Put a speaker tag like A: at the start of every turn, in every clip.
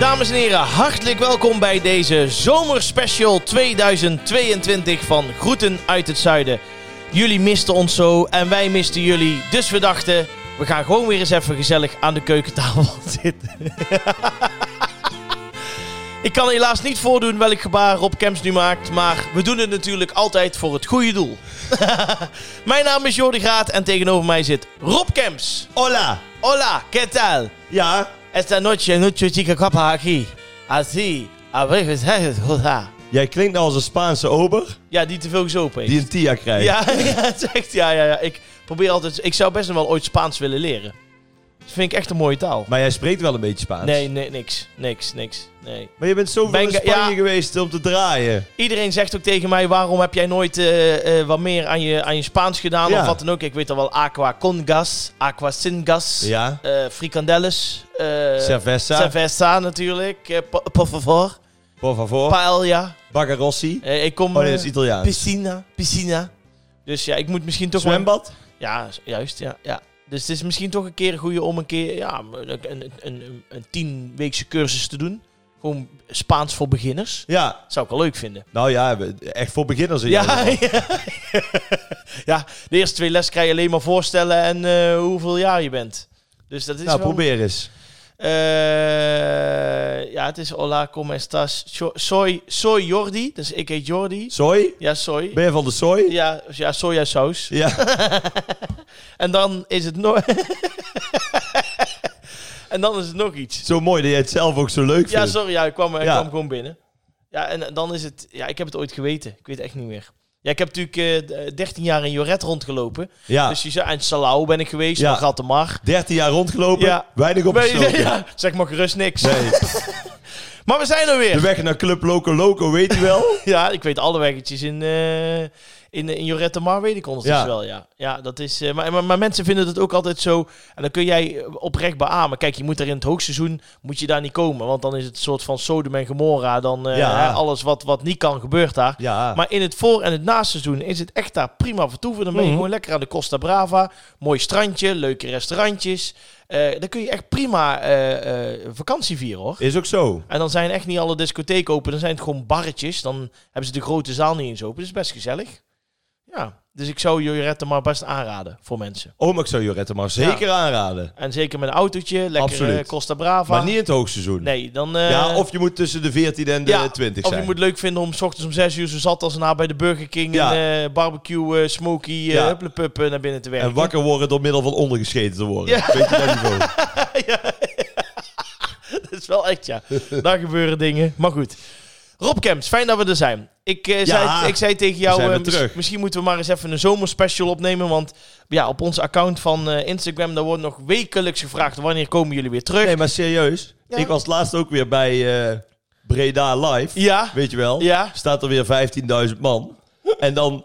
A: Dames en heren, hartelijk welkom bij deze zomerspecial 2022 van Groeten uit het Zuiden. Jullie misten ons zo en wij misten jullie, dus we dachten, we gaan gewoon weer eens even gezellig aan de keukentafel zitten. Ik kan helaas niet voordoen welk gebaar Rob Kemps nu maakt, maar we doen het natuurlijk altijd voor het goede doel. Mijn naam is Jordi Graat en tegenover mij zit Rob Kemps.
B: Hola!
A: Hola, ¿qué tal?
B: Ja?
A: Esta noche noche chica capa aquí. Así, abriges het hola.
B: Jij klinkt nou als een Spaanse ober
A: Ja, die te veel gezopen heeft.
B: die een TIA krijgt.
A: Ja, ja, het is echt, ja, ja, ja. Ik probeer altijd, ik zou best nog wel ooit Spaans willen leren. Dat vind ik echt een mooie taal.
B: Maar jij spreekt wel een beetje Spaans.
A: Nee, nee, niks, niks, niks, nee.
B: Maar je bent zoveel
A: Ben
B: in
A: ik-
B: Spanje
A: ja.
B: geweest om te draaien.
A: Iedereen zegt ook tegen mij, waarom heb jij nooit eh, eh, wat meer aan je, aan je Spaans gedaan
B: Ja.
A: of wat dan ook. Ik weet al wel, aqua con gas, aqua sin gas,
B: Ja?
A: eh, frikandelles, eh,
B: Cerveza,
A: cerveza natuurlijk, eh, po- por favor,
B: por favor,
A: paella.
B: Bagarossi.
A: Eh, ik kom...
B: Oh nee, dat
A: eh,
B: is Italiaans.
A: Piscina, piscina. Dus ja, ik moet misschien toch... wel-
B: Zwembad?
A: Ja, s- juist, ja, ja. Dus het is misschien toch een keer een goede om een keer ja, een, een, een, een tienweekse cursus te doen. Gewoon Spaans voor beginners.
B: Ja.
A: Zou ik wel leuk vinden.
B: Nou ja, we- echt voor beginners. in ieder
A: Ja,
B: geval.
A: ja. ja, de eerste twee les krijg je alleen maar voorstellen en eh, hoeveel jaar je bent. Dus dat is
B: Nou,
A: wel...
B: probeer eens.
A: Eh, ja, het is hola, como estás? Yo- Soy, soy Jordi. Dus ik heet Jordi.
B: Soy?
A: Ja, soy.
B: Ben je van de soy?
A: Ja, ja sojasaus.
B: Ja.
A: En dan is het nog. en dan is het nog iets.
B: Zo mooi dat jij het zelf ook zo leuk vindt.
A: Ja, sorry, ja, ik, kwam, ik
B: Ja.
A: kwam gewoon binnen. Ja, en dan is het. Ja, ik heb het ooit geweten. Ik weet het echt niet meer. Ja, ik heb natuurlijk eh, d- 13 jaar in Joret rondgelopen.
B: Ja.
A: Dus je zei, en Salau ben ik geweest,
B: Ja.
A: ja. Gattemar.
B: 13 jaar rondgelopen,
A: Ja.
B: weinig
A: Nee,
B: opgesloten.
A: ja, zeg maar gerust niks.
B: Nee.
A: Maar we zijn er
B: De
A: weer.
B: weg naar Club Loco Loco weet je wel.
A: Ja, ik weet alle weggetjes in, eh in, in Jorette Mar, weet ik ondertussen
B: Ja.
A: wel, ja. Ja, dat is... eh, maar, maar, maar mensen vinden het ook altijd zo... En dan kun jij eh, oprecht beamen. Kijk, je moet er in het hoogseizoen moet je daar niet komen. Want dan is het een soort van Sodom en Gomorra. Dan eh,
B: Ja.
A: hè, alles wat, wat niet kan, gebeurt daar.
B: Ja.
A: Maar in het voor- en het naseizoen is het echt daar prima vertoeven. Dan ben je
B: Mhm.
A: gewoon lekker aan de Costa Brava. Mooi strandje, leuke restaurantjes. Eh dan kun je echt prima eh, eh, vakantie vieren, hoor.
B: Is ook zo.
A: En dan zijn echt niet alle discotheken open. Dan zijn het gewoon barretjes. Dan hebben ze de grote zaal niet eens open. Dat is best gezellig. Ja, dus ik zou Jorette maar best aanraden voor mensen.
B: Oom, ik zou Jorette maar zeker aanraden.
A: En zeker met een autootje, lekker
B: Absoluut.
A: eh, Costa Brava.
B: Maar niet in het hoogseizoen.
A: nee, dan... eh,
B: ja, of je moet tussen de 14 en de
A: ja,
B: 20
A: Of
B: zijn.
A: je moet leuk vinden om s ochtends om 6 uur zo zat als na bij de Burger King...
B: Ja.
A: en eh, barbecue, eh smoky, eh
B: Ja.
A: hupplepup eh, naar binnen te werken.
B: en wakker worden door middel van ondergescheten te worden.
A: Ja.
B: Beetje dat niveau.
A: Dat is wel echt, ja. Daar gebeuren dingen. Maar goed. Rob Kemps, fijn dat we er zijn. Ik, eh, zei, ik zei tegen jou,
B: zijn weer
A: eh, mis-
B: terug.
A: misschien moeten we maar eens even een zomerspecial opnemen. Want ja, op ons account van eh, Instagram, daar wordt nog wekelijks gevraagd wanneer komen jullie weer terug.
B: Nee, maar serieus.
A: Ja.
B: Ik was laatst ook weer bij eh, Breda Live.
A: Ja,
B: Weet je wel?
A: ja.
B: Staat er weer 15.000 man. En dan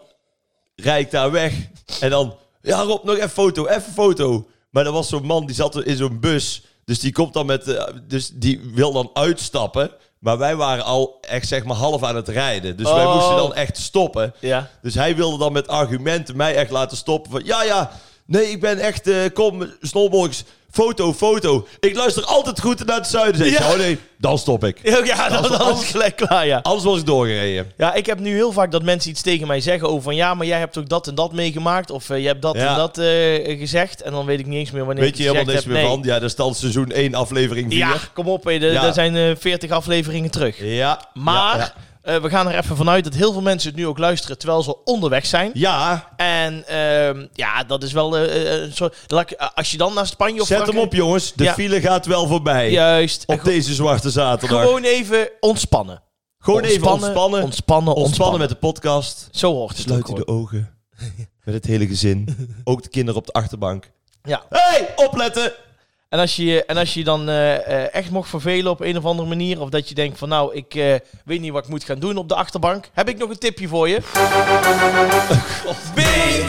B: rijd ik daar weg. En dan, ja Rob, nog even foto, even foto. Maar er was zo'n man, die zat in zo'n bus. Dus die komt dan met, eh, dus die wil dan uitstappen. Maar wij waren al echt zeg maar half aan het rijden. Dus wij
A: Oh.
B: moesten dan echt stoppen.
A: Ja.
B: Dus hij wilde dan met argumenten mij echt laten stoppen van... Ja, ja, nee, ik ben echt... eh, kom, snowboards, foto, foto. Ik luister altijd goed naar het zuiden. Zeg ik,
A: Ja.
B: Oh nee, dan stop ik.
A: Ja, dan, dan is het gelijk klaar, ja.
B: Anders was ik doorgereden.
A: Ja, ik heb nu heel vaak dat mensen iets tegen mij zeggen over van... Ja, maar jij hebt ook dat en dat meegemaakt. Of eh, je hebt dat
B: Ja.
A: en dat eh, gezegd. En dan weet ik niet eens meer wanneer
B: Weet je
A: ik het
B: helemaal
A: gezegd
B: niks
A: heb.
B: meer van? Ja, dat is dan seizoen 1, aflevering 4.
A: Nee. Ja, kom op. hé, de-
B: Ja.
A: Er zijn eh, 40 afleveringen terug.
B: Ja.
A: Maar
B: Ja,
A: eh, we gaan er even vanuit dat heel veel mensen het nu ook luisteren terwijl ze onderweg zijn.
B: ja.
A: En ehm, ja, dat is wel eh, eh, een soort. laat ik- eh, als je dan naar Spanje of
B: zet hem
A: Frankrijk-
B: op jongens. De
A: Ja.
B: file gaat wel voorbij.
A: Juist. En
B: Op deze zwarte zaterdag.
A: gewoon-
B: Gewoon,
A: gewoon even ontspannen.
B: even ontspannen. Ontspannen,
A: Ontspannen, ontspannen.
B: met de podcast.
A: Zo hoort het.
B: Sluit
A: ook
B: u de ogen. Met het hele gezin. Ook de kinderen op de achterbank.
A: gewoon. Ja.
B: hey, opletten!
A: En als je en als je dan eh, eh, echt mocht vervelen op een of andere manier. Of dat je denkt van nou, ik eh, weet niet wat ik moet gaan doen op de achterbank. Heb ik nog een tipje voor je.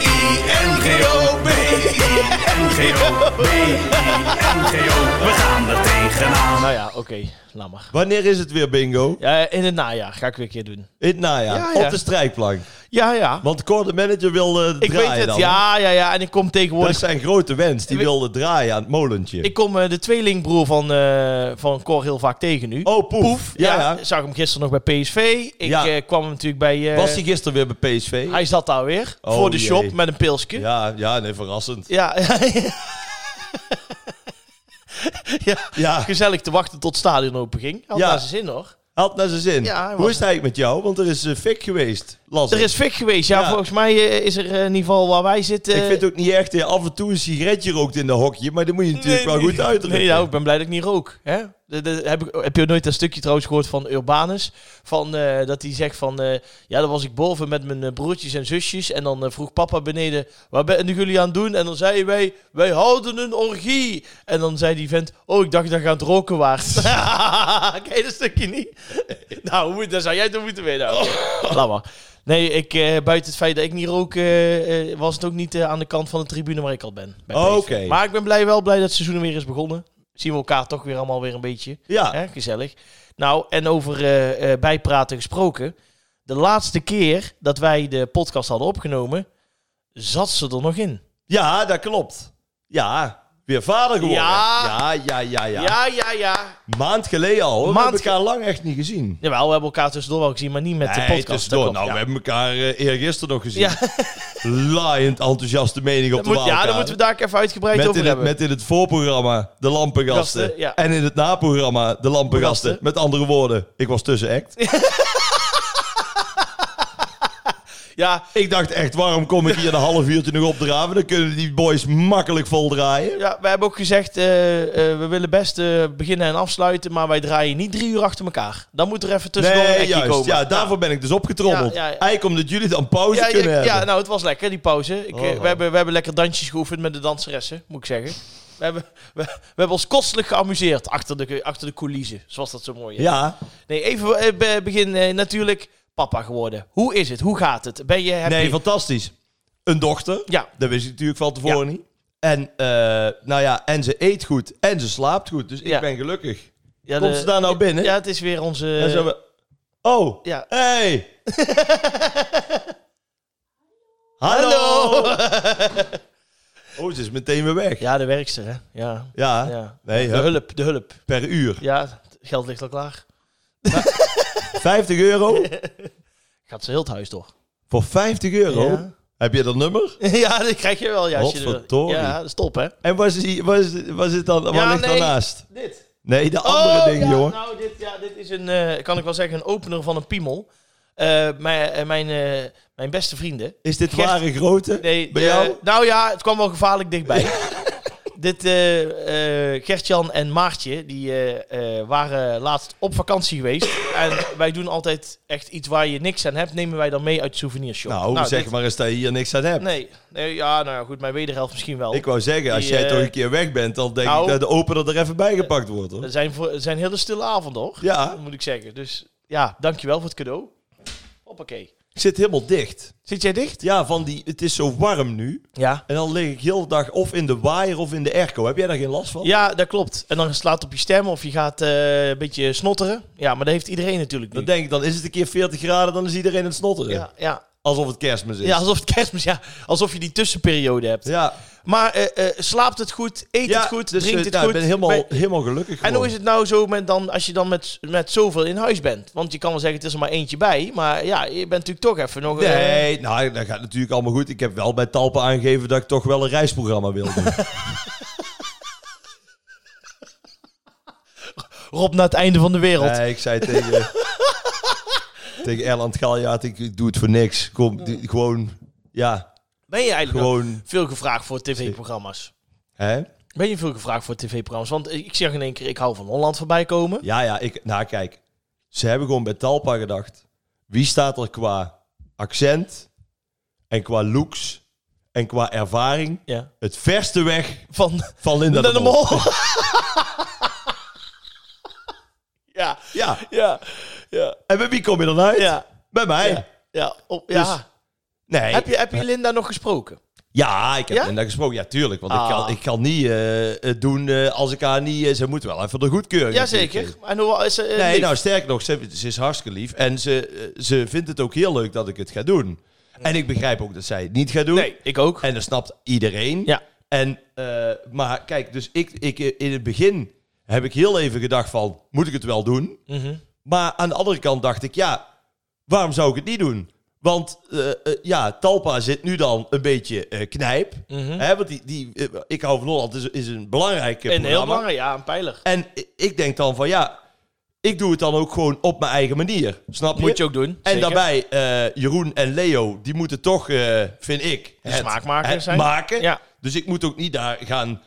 C: B-I-N-G-O, B-I-N-G-O, B-I-N-G-O. We gaan er tegenaan.
A: Nou ja, oké. Laat maar.
B: Wanneer is het weer bingo?
A: Ja, in het najaar ga ik weer een keer doen.
B: In het najaar.
A: Ja, ja.
B: Op de strijkplank.
A: Ja, ja.
B: Want Cor, de manager wil eh,
A: Ik
B: draaien
A: weet het,
B: dan, hè?
A: ja, ja, ja. En ik kom
B: Dat
A: tegenwoordig...
B: is zijn grote wens. Die
A: Ik-
B: wilde draaien aan het molentje.
A: Ik kom eh, de tweelingbroer van, eh, van Cor heel vaak tegen nu.
B: oh, poef. Ja, ja.
A: Ik zag hem gisteren nog bij PSV. Ik
B: Ja.
A: eh, kwam hem natuurlijk bij... eh,
B: Was hij gisteren weer bij PSV?
A: Hij zat daar weer.
B: Oh,
A: voor de
B: jee.
A: shop met een pilsje.
B: Ja, ja, nee, verrassend.
A: Ja. ja.
B: Ja, hij
A: Gezellig te wachten tot het stadion open ging. Had
B: Ja.
A: daar zijn zin hoor.
B: had naar zijn zin.
A: Ja, hij
B: Hoe
A: was-
B: is het eigenlijk met jou? Want er is eh, fik geweest, las
A: Er
B: ik.
A: is fik geweest. Ja,
B: Ja.
A: volgens mij eh, is er eh, in ieder geval waar wij zitten...
B: Ik vind het ook niet echt, eh, af en toe een sigaretje rookt in de hokje, maar dat moet je natuurlijk wel goed uitdrukken.
A: eh, Nee, nou, ik ben blij dat ik niet rook. Hè? De- de- heb, ik, heb je nooit dat stukje trouwens gehoord van Urbanus? Van, eh, dat hij zegt van... eh, ja, dan was ik boven met mijn eh, broertjes en zusjes. En dan eh, vroeg papa beneden... Wat ben jullie aan het doen? En dan zeiden wij... Wij houden een orgie. En dan zei die vent... Oh, ik dacht dat je aan het roken was. Ken je dat stukje niet? nou, hoe, dat zou jij toch moeten weten. nou. Laat maar. Nee, ik, eh, buiten het feit dat ik niet rook... eh, eh, was het ook niet eh, aan de kant van de tribune waar ik al ben. bij
B: Oké.
A: PSV. Maar ik ben blij, wel blij dat het seizoen weer is begonnen. Zien we elkaar toch weer allemaal weer een beetje.
B: Ja,
A: Hè, gezellig. Nou, en over eh, eh, bijpraten gesproken. De laatste keer dat wij de podcast hadden opgenomen, zat ze er nog in.
B: ja, dat klopt. Ja, weer vader geworden.
A: Ja.
B: ja, ja, ja. ja.
A: ja, ja. ja.
B: Maand geleden al. hoor. We
A: Maand
B: hebben elkaar lang echt niet gezien.
A: Jawel, we hebben elkaar tussendoor wel gezien, maar niet met
B: Nee,
A: de podcast.
B: tussendoor.
A: dus Dat klopt,
B: Nou,
A: ja.
B: we hebben elkaar eh, eergisteren nog gezien.
A: Ja.
B: Laaiend enthousiaste mening op
A: Dat
B: de
A: moet, ja,
B: Waalkade.
A: daar moeten we daar ook even uitgebreid
B: met
A: over
B: in, het,
A: hebben.
B: met in het voorprogramma de lampengasten.
A: Gasten, ja.
B: En in het naprogramma de lampengasten.
A: Gasten.
B: Met andere woorden, ik was tussen act.
A: Ja,
B: ik dacht echt, waarom kom ik hier een half uurtje nog opdraven? Dan kunnen die boys makkelijk voldraaien.
A: ja, we hebben ook gezegd, eh, eh, we willen best eh, beginnen en afsluiten, maar wij draaien niet drie uur achter elkaar. Dan moet er even tussendoor een
B: Nee,
A: ekkie
B: juist.
A: komen.
B: Ja, daarvoor ben ik dus opgetrommeld.
A: Ja, ja, ja.
B: Eigenlijk omdat jullie dan pauze
A: Ja, ja,
B: kunnen hebben.
A: ja, nou, het was lekker, die pauze. Ik, eh,
B: Oh.
A: we, hebben, we hebben lekker dansjes geoefend met de danseressen, moet ik zeggen. We hebben, we, we hebben ons kostelijk geamuseerd achter de, achter de coulissen, zoals dat zo mooi is.
B: ja.
A: Nee, even eh, be- begin eh, natuurlijk papa geworden. Hoe is het? Hoe gaat het? Ben je happy?
B: Nee, fantastisch. Een dochter.
A: Ja.
B: Dat wist ik natuurlijk van tevoren niet. En, eh, nou ja, en ze eet goed en ze slaapt goed. Dus
A: Ja.
B: ik ben gelukkig.
A: Ja,
B: Komt
A: de-
B: ze daar nou binnen?
A: Ja, het is weer onze...
B: en zo we- Oh,
A: Eh, ja.
B: hey. Hallo. Oh, ze is meteen weer weg. Ja.
A: Ja, de werkster, hè? Ja. ja.
B: Nee,
A: de
B: hup,
A: hulp, de hulp.
B: per uur.
A: Ja, het geld ligt al klaar.
B: 50 euro?
A: Gaat ze heel het huis door.
B: Voor 50 euro?
A: Ja.
B: Heb je dat nummer?
A: ja, dat krijg je wel juist.
B: Godverdorie.
A: Ja, dat is top, hè?
B: En wat is, die- wat is, wat zit dan, wat
A: Ja,
B: ligt
A: nee.
B: daarnaast?
A: Dit.
B: Nee, de andere
A: Oh,
B: ding,
A: ja,
B: jongen.
A: Nou, dit, ja, dit is een, eh, kan ik wel zeggen, een opener van een piemel. Eh, mijn, eh, mijn, eh, mijn beste vrienden.
B: Is dit
A: Gert-
B: ware grootte?
A: Nee,
B: Bij
A: eh,
B: jou?
A: nou ja, het kwam wel gevaarlijk dichtbij. dit, eh, eh, Gertjan en Maartje, die eh, eh, waren laatst op vakantie geweest. en wij doen altijd echt iets waar je niks aan hebt, nemen wij dan mee uit de souvenirshop.
B: Nou, zeg
A: dit-
B: maar eens dat je hier niks aan hebt.
A: Nee, nee, ja, nou ja, goed, mijn wederhelft misschien wel.
B: Ik wou zeggen, als
A: Die,
B: jij
A: eh,
B: toch een keer weg bent, dan denk
A: nou- Eh,
B: ik dat de opener er even bij gepakt wordt, hoor.
A: Het zijn, voor, het zijn hele stille avonden, hoor.
B: Ja,
A: Moet ik zeggen. Dus ja, dankjewel voor het cadeau. Hoppakee.
B: ik zit helemaal dicht.
A: Zit jij dicht?
B: Ja, van die, het is zo warm nu.
A: Ja.
B: En dan lig ik heel de dag of in de waaier of in de airco. Heb jij daar geen last van?
A: Oh. Ja, dat klopt. En dan slaat het op je stem of je gaat eh, een beetje snotteren. Ja, maar dat heeft iedereen natuurlijk
B: Dan
A: niet.
B: denk ik, dan is het een keer 40 graden, dan is iedereen aan het snotteren.
A: Ja, ja.
B: Alsof het kerstmis is.
A: ja, alsof het kerstmis, ja. Alsof je die tussenperiode hebt.
B: ja.
A: Maar eh, eh, slaapt het goed, eet
B: Ja,
A: het goed,
B: dus, eh,
A: drinkt het
B: nou,
A: goed.
B: Ik ben helemaal,
A: Ben-
B: helemaal gelukkig
A: en hoe is
B: het?
A: het nou zo met dan, als je dan met, met zoveel in huis bent? Want je kan wel zeggen, het is er maar eentje bij. Maar ja, je bent natuurlijk toch even nog... eh,
B: Nee, nou, dat gaat natuurlijk allemaal goed. Ik heb wel bij Talpa aangegeven dat ik toch wel een reisprogramma wil doen.
A: Rob, naar het einde van de wereld.
B: Nee, ik zei tegen, tegen Erland Galjaard, ik, ik doe het voor niks. Kom, die- gewoon, ja,
A: Ben je eigenlijk nog
B: gewoon,
A: veel gevraagd voor tv-programma's?
B: hè?
A: Ben je veel gevraagd voor tv-programma's? Want eh, ik zeg in één keer, ik hou van Holland voorbij komen.
B: Ja, ja, ik, nou kijk, ze hebben gewoon bij Talpa gedacht. Wie staat er qua accent en qua looks en qua ervaring
A: Ja.
B: het verste weg
A: Van
B: van Linda
A: de
B: de Mol?
A: Mol. ja,
B: Ja,
A: ja, ja,
B: en bij wie kom je dan uit?
A: ja.
B: Bij mij.
A: Ja. ja, op, ja.
B: Dus- Nee.
A: heb, je, heb je Linda nog gesproken?
B: Ja, ik heb
A: Ja?
B: Linda gesproken. Ja, tuurlijk. Want
A: Ah.
B: ik, kan, ik kan niet eh, het doen eh, als ik haar niet... eh, ze moet wel even de goedkeuring natuurlijk
A: Jazeker. En hoe is ze? eh,
B: Nee,
A: lief?
B: nou sterk nog, ze, ze is hartstikke lief. En ze, eh, ze vindt het ook heel leuk dat ik het ga doen. En ik begrijp ook dat zij het niet gaat doen.
A: Nee, ik ook.
B: En dat snapt iedereen.
A: Ja.
B: En, eh, maar kijk, dus ik, ik, eh, in het begin heb ik heel even gedacht van, moet Mhm. ik het wel doen? Maar aan de andere kant dacht ik, ja, waarom zou ik het niet doen? Want eh, eh, ja, Talpa zit nu dan een beetje eh, knijp.
A: Mhm.
B: Hè, want die, die, eh, ik hou van Holland, is, is een belangrijk eh,
A: Een heel
B: programma.
A: belangrijk, ja, een pijler.
B: En i- ik denk dan van, ja, ik doe het dan ook gewoon op mijn eigen manier. Snap je?
A: Moet je ook doen.
B: En
A: zeker.
B: daarbij, eh, Jeroen en Leo, die moeten toch, eh, vind ik,
A: De smaakmakers
B: het
A: zijn.
B: maken.
A: Ja.
B: Dus ik moet ook niet daar gaan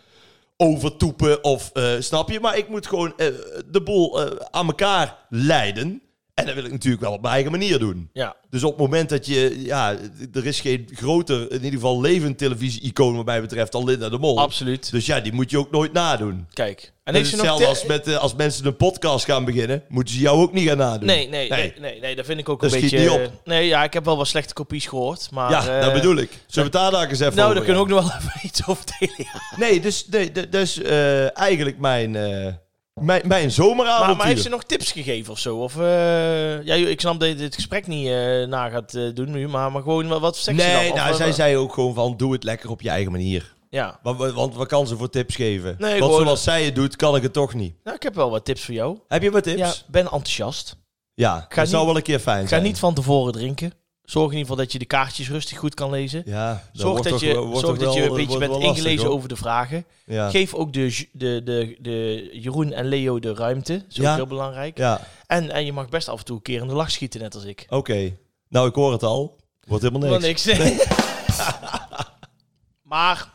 B: overtoepen of eh, snap je. Maar ik moet gewoon eh, de boel eh, aan elkaar leiden. En dat wil ik natuurlijk wel op mijn eigen manier doen.
A: Ja.
B: Dus op het moment dat je, ja, er is geen groter, in ieder geval levend televisie-icoon wat mij betreft dan Linda de Mol.
A: Absoluut.
B: Dus ja, die moet je ook nooit nadoen.
A: Kijk. En
B: En
A: heeft ze
B: is
A: nog
B: hetzelfde
A: te-
B: als, met, eh, als mensen een podcast gaan beginnen, moeten ze jou ook niet gaan nadoen.
A: Nee, nee, nee, nee, nee, dat vind ik ook
B: Dat
A: een
B: schiet
A: beetje...
B: niet op.
A: eh, Nee, ja, ik heb wel wat slechte kopies gehoord, maar...
B: Ja,
A: eh,
B: dat bedoel ik. Zullen we het daar dan eens even
A: Nou, daar
B: over
A: kunnen
B: hebben?
A: we ook nog wel even iets over delen. ja.
B: Nee, dus, nee, d- dus eh, eigenlijk mijn, eh, mijn, mijn zomeravontuur.
A: Maar, maar heeft ze nog tips gegeven of zo? Of, eh, ja, ik snap dat je dit gesprek niet eh, na gaat eh, doen nu, maar, maar gewoon, wat, wat zegt ze dan?
B: Nee,
A: Of,
B: nou,
A: eh,
B: zij zei ook gewoon van, doe het lekker op je eigen manier.
A: Ja.
B: Want, we- want we kan ze voor tips geven.
A: Nee,
B: want
A: gewoon-
B: zoals zij het doet, kan ik het toch niet.
A: Nou, ik heb wel wat tips voor jou.
B: Heb je wat tips?
A: Ja,
B: Ja,
A: ben enthousiast.
B: dat
A: niet-
B: zou wel een keer fijn
A: Ga
B: zijn.
A: niet van tevoren drinken. Zorg in ieder geval dat je de kaartjes rustig goed kan lezen.
B: Ja, dat
A: Zorg
B: wordt
A: dat,
B: toch-
A: je,
B: wordt
A: zorg
B: toch
A: dat je
B: wel-
A: een
B: wordt
A: beetje bent
B: wel lastig,
A: ingelezen
B: hoor.
A: over de vragen.
B: Ja.
A: Geef ook de, ju- de, de, de Jeroen en Leo de ruimte. Dat is ook
B: Ja.
A: heel belangrijk.
B: ja,
A: En, en je mag best af en toe een keer in de lach schieten, net als ik.
B: oké. Nou, ik hoor het al. Wordt helemaal
A: Wel
B: niks.
A: niks. maar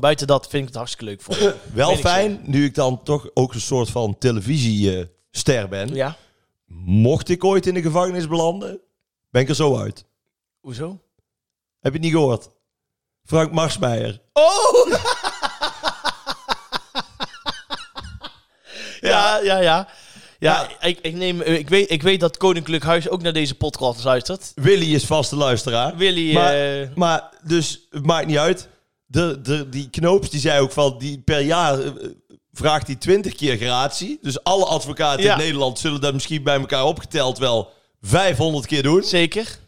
A: buiten dat vind ik het hartstikke leuk voor je.
B: Wel
A: Weet ik
B: fijn, nu ik dan toch ook een soort van televisiester ben.
A: Ja,
B: Mocht ik ooit in de gevangenis belanden, ben ik er zo uit.
A: hoezo?
B: Heb je het niet gehoord? Frank Marsmeijer.
A: Oh! ja, ja, ja. Ja, Ik, ik, neem, eh, ik, weet, ik weet dat Koninklijk Huis ook naar deze podcast luistert.
B: Willy is vaste luisteraar.
A: Willy,
B: Maar,
A: eh,
B: maar dus het maakt niet uit. De, de, die knoops die zei ook van, die per jaar eh, vraagt hij 20 keer gratie. Dus alle advocaten
A: Ja.
B: in Nederland zullen dat misschien bij elkaar opgeteld wel 500 keer doen.
A: zeker.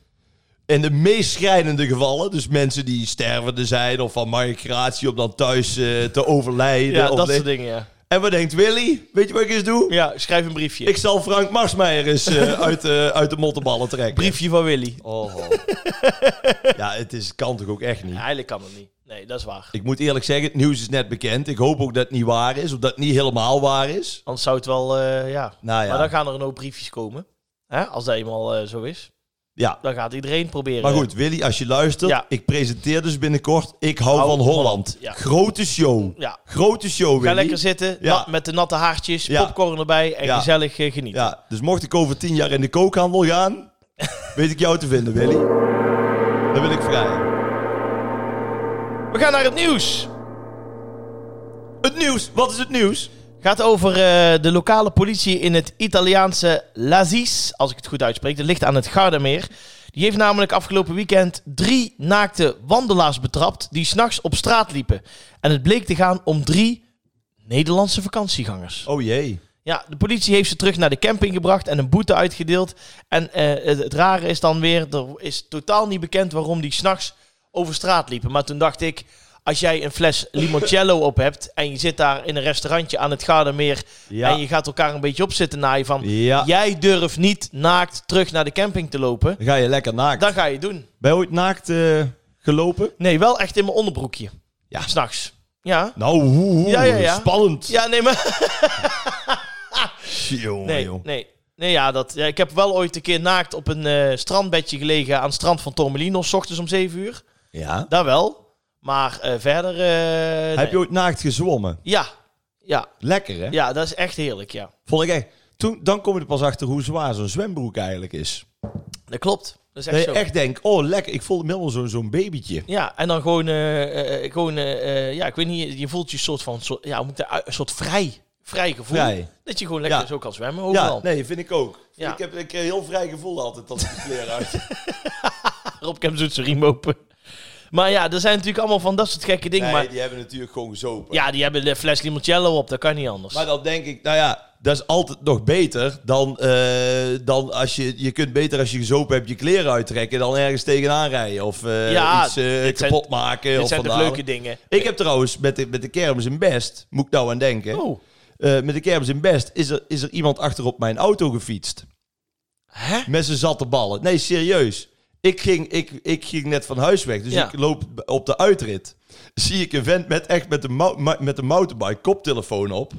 B: In de meest schrijnende gevallen, dus mensen die stervende zijn of van migratie om dan thuis eh, te overlijden.
A: Ja,
B: of
A: dat
B: nee.
A: soort dingen, ja.
B: En wat denkt Willy? Weet je wat ik eens doe?
A: Ja, schrijf een briefje.
B: Ik zal Frank Marsmeijer eens eh, uit, eh, uit de mottenballen trekken.
A: briefje van Willy.
B: Oh. ja, het is, kan toch ook echt niet?
A: Ja, eigenlijk kan dat niet. Nee, dat is waar.
B: Ik moet eerlijk zeggen, het nieuws is net bekend. Ik hoop ook dat het niet waar is, of dat het niet helemaal waar is.
A: Anders zou het wel, eh, ja.
B: Nou ja.
A: Maar dan gaan er een hoop briefjes komen. Hè? Als dat eenmaal eh, zo is.
B: Ja.
A: Dan gaat iedereen proberen.
B: Maar goed, Willy, als je luistert,
A: Ja.
B: ik presenteer dus binnenkort Ik hou
A: Hou
B: van
A: van
B: Holland.
A: Holland, ja.
B: Grote show.
A: Ja.
B: Grote show, Willy.
A: Ga lekker zitten,
B: Ja.
A: nat- met de natte haartjes,
B: Ja.
A: popcorn erbij en
B: Ja.
A: gezellig eh, genieten.
B: Ja, dus mocht ik over tien jaar in de kookhandel gaan, weet ik jou te vinden, Willy. Dan wil ik vrij.
A: We gaan naar het nieuws.
B: Het nieuws, wat is het nieuws?
A: gaat over eh, de lokale politie in het Italiaanse Lazis, als ik het goed uitspreek. Dat ligt aan het Gardameer. Die heeft namelijk afgelopen weekend drie naakte wandelaars betrapt die s'nachts op straat liepen. En het bleek te gaan om drie Nederlandse vakantiegangers.
B: Oh jee.
A: Ja, de politie heeft ze terug naar de camping gebracht en een boete uitgedeeld. En eh, het, het rare is dan weer, er is totaal niet bekend waarom die s'nachts over straat liepen. Maar toen dacht ik, als jij een fles limoncello op hebt en je zit daar in een restaurantje aan het Gardermeer...
B: Ja.
A: en je gaat elkaar een beetje op zitten naaien van...
B: Ja.
A: jij durft niet naakt terug naar de camping te lopen,
B: Dan ga je lekker naakt.
A: dan ga je doen.
B: Ben je ooit naakt eh, gelopen?
A: Nee, wel echt in mijn onderbroekje.
B: Ja.
A: S'nachts. Ja.
B: Nou, hoe, hoe,
A: Ja, ja, ja.
B: spannend.
A: Ja, nee, maar...
B: Jongen,
A: Nee,
B: joh.
A: nee. Nee, ja, dat, ja, ik heb wel ooit een keer naakt op een eh, strandbedje gelegen aan het strand van Tormelino, s ochtends om 7 uur.
B: Ja.
A: Daar wel. Maar eh, verder. eh,
B: Heb je
A: nee.
B: ooit naakt gezwommen?
A: Ja. Ja.
B: Lekker, hè?
A: ja, dat is echt heerlijk, ja.
B: Vond ik echt... Toen, dan kom je er pas achter hoe zwaar zo'n zwembroek eigenlijk is.
A: Dat klopt. Dat is
B: Dat
A: echt
B: je
A: zo.
B: echt denkt, oh lekker, ik voel me helemaal zo'n zo'n babytje.
A: Ja, en dan gewoon, eh, eh, gewoon eh, eh, ja, ik weet niet, je voelt je een soort van, soort- ja, hoe moet ik dat- een soort vrij, vrij gevoel.
B: Vrij.
A: Dat je gewoon lekker
B: Ja.
A: zo kan zwemmen
B: Ja,
A: overal.
B: nee, vind ik ook.
A: Ja.
B: Ik heb een keer heel vrij gevoel altijd als ik de kleren uit.
A: Rob Kemp doet zijn riem open. Maar ja, er zijn natuurlijk allemaal van dat soort gekke dingen.
B: Nee,
A: maar
B: die hebben natuurlijk gewoon gezopen.
A: ja, die hebben de fles limoncello op, dat kan niet anders.
B: Maar dan denk ik, nou ja, dat is altijd nog beter dan, eh, dan als je... Je kunt beter als je gezopen hebt je kleren uittrekken... dan ergens tegenaan rijden of eh,
A: Ja,
B: iets eh,
A: dit zijn-
B: kapot maken.
A: Dit
B: of
A: zijn de
B: vandalen.
A: leuke dingen.
B: Ik heb trouwens met de, met de kermis in Best... Moet ik nou aan denken.
A: Oh.
B: Eh, met de kermis in Best is er, is er iemand achter op mijn auto gefietst.
A: Hè?
B: Met zijn zatte ballen. Nee, serieus. Ik ging, ik, ik ging net van huis weg, dus
A: Ja.
B: ik loop b- op de uitrit. Zie ik een vent met, echt met een, mou- ma- met een mountainbike koptelefoon op.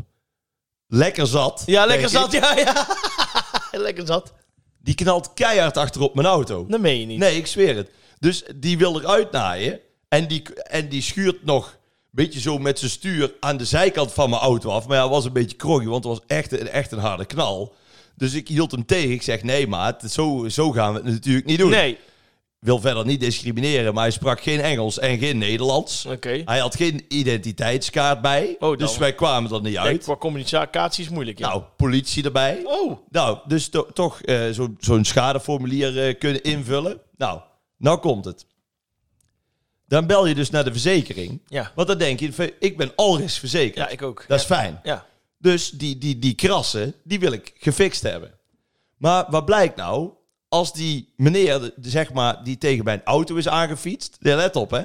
B: Lekker zat.
A: Ja,
B: denk
A: lekker
B: ik.
A: zat. Ja, ja. lekker zat.
B: Die knalt keihard achter op mijn auto.
A: Dat meen je niet.
B: Nee, ik zweer het. Dus die wil eruit naaien. En die, en die schuurt nog een beetje zo met zijn stuur aan de zijkant van mijn auto af. Maar ja, het was een beetje kroggy, want het was echt, een- echt een harde knal. Dus ik hield hem tegen. Ik zeg, nee maat, zo, zo gaan we het natuurlijk niet doen.
A: Nee.
B: Wil verder niet discrimineren, maar hij sprak geen Engels en geen Nederlands.
A: Oké. Oh,
B: Hij had geen identiteitskaart bij.
A: dan-
B: dus wij kwamen er niet
A: Kijk,
B: uit.
A: Qua communicatie is moeilijk. Ja.
B: Nou, politie erbij.
A: Oh.
B: Nou, dus to- toch eh, zo- zo'n schadeformulier eh, kunnen invullen. Nou, nou komt het. Dan bel je dus naar de verzekering.
A: Ja.
B: Want dan denk je, van, ik ben alres verzekerd.
A: Ja, ik ook.
B: Dat is fijn.
A: Ja.
B: Dus die, die, die krassen, die wil ik gefixt hebben. Maar wat blijkt nou? Als die meneer, de- zeg maar, die tegen mijn auto is aangefietst. Ja, let op hè.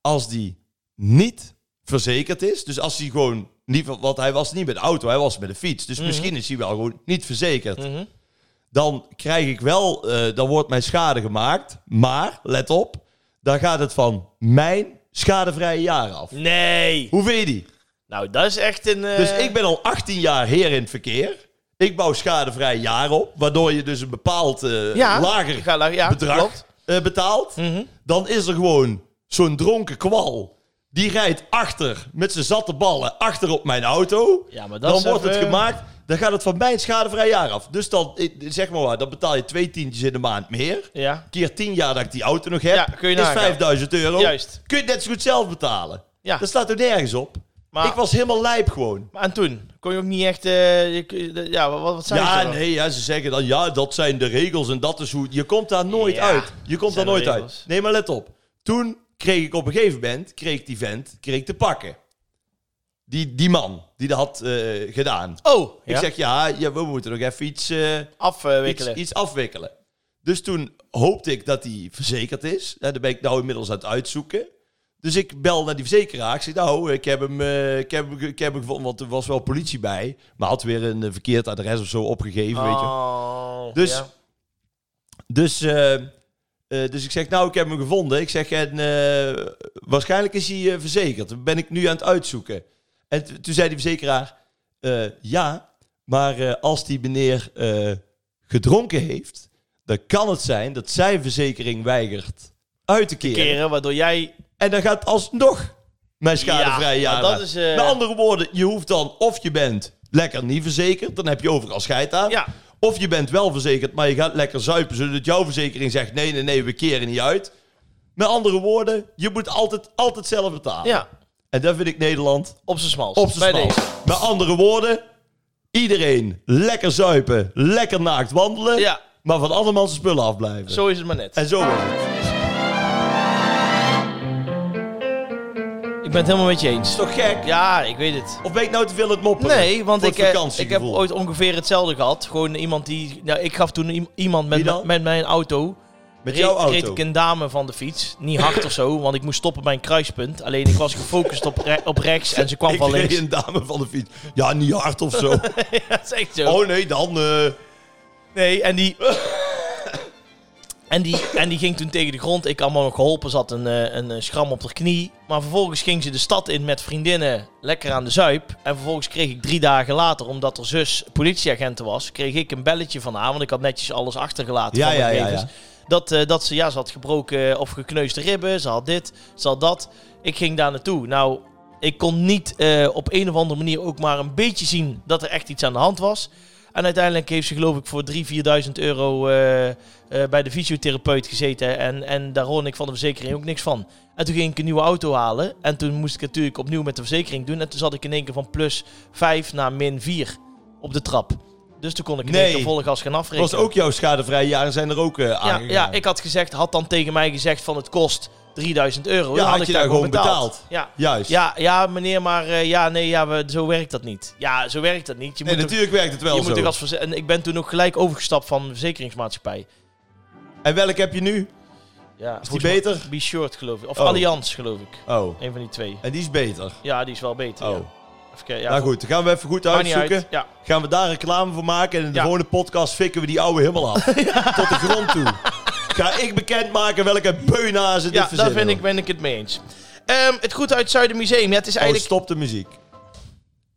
B: Als die niet verzekerd is. Dus als hij gewoon niet... Want hij was niet met de auto, hij was met de fiets. Dus misschien is hij wel gewoon niet verzekerd. Dan krijg ik wel... eh, dan wordt mijn schade gemaakt. Maar, let op. Dan gaat het van mijn schadevrije jaar af.
A: Mhm. Nee.
B: Hoe vind je die?
A: Nou, dat is echt een... eh,
B: Dus ik ben al 18 jaar heer in het verkeer. Ik bouw schadevrij jaar op, waardoor je dus een bepaald eh,
A: ja.
B: lager
A: Ga la- ja,
B: bedrag
A: klopt. Mhm.
B: eh, betaalt. Dan is er gewoon zo'n dronken kwal. Die rijdt achter, met zijn zatte ballen, achter op mijn auto.
A: Ja, maar dat
B: dan
A: is
B: wordt het
A: even-
B: gemaakt, dan gaat het van mijn schadevrij jaar af. Dus dan, eh, zeg maar waar, dan betaal je twee tientjes in de maand meer.
A: Ja.
B: Keer 10 jaar dat ik die auto nog heb,
A: Ja, kun je
B: is
A: nagaan.
B: 5000 euro.
A: Juist.
B: Kun je net zo goed zelf betalen.
A: Ja.
B: Dat staat er nergens op.
A: Maar-
B: Ik was helemaal lijp gewoon.
A: Maar en toen? Kon je ook niet echt... eh, je kun- de- ja, wat, wat zei
B: Ja,
A: ze dan?
B: nee, ja, ze zeggen dan, ja, dat zijn de regels en dat is hoe... Je komt daar nooit
A: Ja,
B: uit. Je komt
A: zijn
B: daar
A: de
B: nooit
A: regels.
B: uit. Nee, maar let op. Toen kreeg ik op een gegeven moment, kreeg ik die vent, kreeg ik te pakken. Die, die man, die dat had eh, gedaan.
A: Oh.
B: Ik zeg, ja, ja, we moeten nog even iets, eh, iets,
A: Afwikkelen.
B: iets afwikkelen. Dus toen hoopte ik dat die verzekerd is. Nou, daar ben ik nou inmiddels aan het uitzoeken. Dus ik bel naar die verzekeraar. Ik zeg, nou, ik heb hem, eh, ik heb, hem ge- ik heb hem gevonden, want er was wel politie bij. Maar had weer een eh, verkeerd adres of zo opgegeven, weet je. wel.
A: Oh,
B: Dus-
A: ja.
B: Dus, eh, eh, dus ik zeg, nou, ik heb hem gevonden. Ik zeg, en, eh, waarschijnlijk is hij eh, verzekerd. Dat ben ik nu aan het uitzoeken. En t- toen zei die verzekeraar, eh, ja, maar eh, als die meneer eh, gedronken heeft, dan kan het zijn dat zijn verzekering weigert uit te keren.
A: Keren, waardoor jij...
B: En dan gaat alsnog mijn schadevrij
A: Ja,
B: jaar.
A: maar dat
B: aan.
A: is, eh,
B: Met andere woorden, je hoeft dan of je bent lekker niet verzekerd, dan heb je overal scheid aan.
A: Ja.
B: Of je bent wel verzekerd, maar je gaat lekker zuipen, zodat jouw verzekering zegt: nee, nee, nee, we keren niet uit. Met andere woorden, je moet altijd, altijd zelf betalen.
A: Ja.
B: En dat vind ik Nederland
A: Op zijn smals.
B: op zijn
A: Bij
B: smal.
A: deze.
B: Met andere woorden, iedereen lekker zuipen, lekker naakt wandelen,
A: Ja.
B: maar van andermans spullen afblijven.
A: Zo Ah. is het maar net.
B: En zo was het.
A: Ik ben het helemaal met je eens.
B: Is toch gek?
A: Ja, ik weet het.
B: Of ben ik nou te veel het mopperen?
A: Nee, want
B: Voor
A: ik,
B: het
A: eh, ik heb
B: vakantiegevoel?
A: ooit ongeveer hetzelfde gehad. Gewoon iemand die... Nou, ik gaf toen i- iemand met,
B: Wie
A: m-
B: dan?
A: met mijn auto...
B: Met
A: reed-
B: jouw auto.
A: reed ik een dame van de fiets. Niet hard of zo, want ik moest stoppen bij een kruispunt. Alleen ik was gefocust op, re- op rechts en ze kwam
B: Ik
A: van
B: reed
A: links.
B: een dame van de fiets. Ja, niet hard of zo.
A: Dat is echt zo.
B: oh nee, dan... eh,
A: Nee, en die... En die, en die ging toen tegen de grond. Ik had allemaal nog geholpen. Zat een, eh, een eh, schram op haar knie. Maar vervolgens ging ze de stad in met vriendinnen. Lekker aan de zuip. En vervolgens kreeg ik drie dagen later, omdat er zus politieagenten was, kreeg ik een belletje van haar. Want ik had netjes alles achtergelaten.
B: Ja,
A: van mijn
B: ja, ja,
A: gegevens.
B: ja.
A: Dat, eh, dat ze, ja, ze had gebroken eh, of gekneusde ribben. Ze had dit, ze had dat. Ik ging daar naartoe. Nou, ik kon niet eh, op een of andere manier ook maar een beetje zien dat er echt iets aan de hand was. En uiteindelijk heeft ze geloof ik voor 3.000, 4.000 euro eh, eh, bij de fysiotherapeut gezeten. En, en daar hoorde ik van de verzekering ook niks van. En toen ging ik een nieuwe auto halen. En toen moest ik het natuurlijk opnieuw met de verzekering doen. En toen zat ik in één keer van plus 5 naar min 4 op de trap. Dus toen kon ik in één
B: Nee.
A: keer volle gas gaan afrekenen.
B: was ook jouw schadevrije jaren zijn er ook eh
A: Ja,
B: aangegaan.
A: ja, ik had gezegd, had dan tegen mij gezegd van het kost 3000 euro.
B: Ja,
A: dan
B: had
A: ik
B: je
A: daar
B: daar gewoon betaald.
A: Ja.
B: Juist.
A: Ja, ja, meneer, maar eh, ja, nee, ja, we, zo werkt dat niet. Ja, zo werkt dat niet. Je
B: nee,
A: moet er-
B: natuurlijk werkt het wel
A: je
B: zo.
A: moet er als verze- en ik ben toen ook gelijk overgestapt van verzekeringsmaatschappij.
B: En welk heb je nu?
A: Ja,
B: Is die beter?
A: Be Short, geloof ik. Of
B: Oh.
A: Allianz, geloof ik.
B: Oh,
A: Een van die twee.
B: en die is beter.
A: Ja, die is wel beter.
B: Oh,
A: Ja. Even kijken, ja,
B: nou goed, dan gaan we even goed
A: maakt niet
B: uitzoeken.
A: uit. Ja.
B: Gaan we daar reclame voor maken en in de
A: Ja.
B: volgende podcast fikken we die ouwe helemaal af. Tot de grond toe. Ga ik bekendmaken welke beunazen
A: Ja,
B: dit
A: daar
B: verzinnen. Oh,
A: ben ik,
B: joh.
A: ben ik het mee eens. Ehm, het Goed Uit Zuiden Museum. Ja, het is
B: Oh,
A: eigenlijk...
B: stop de muziek.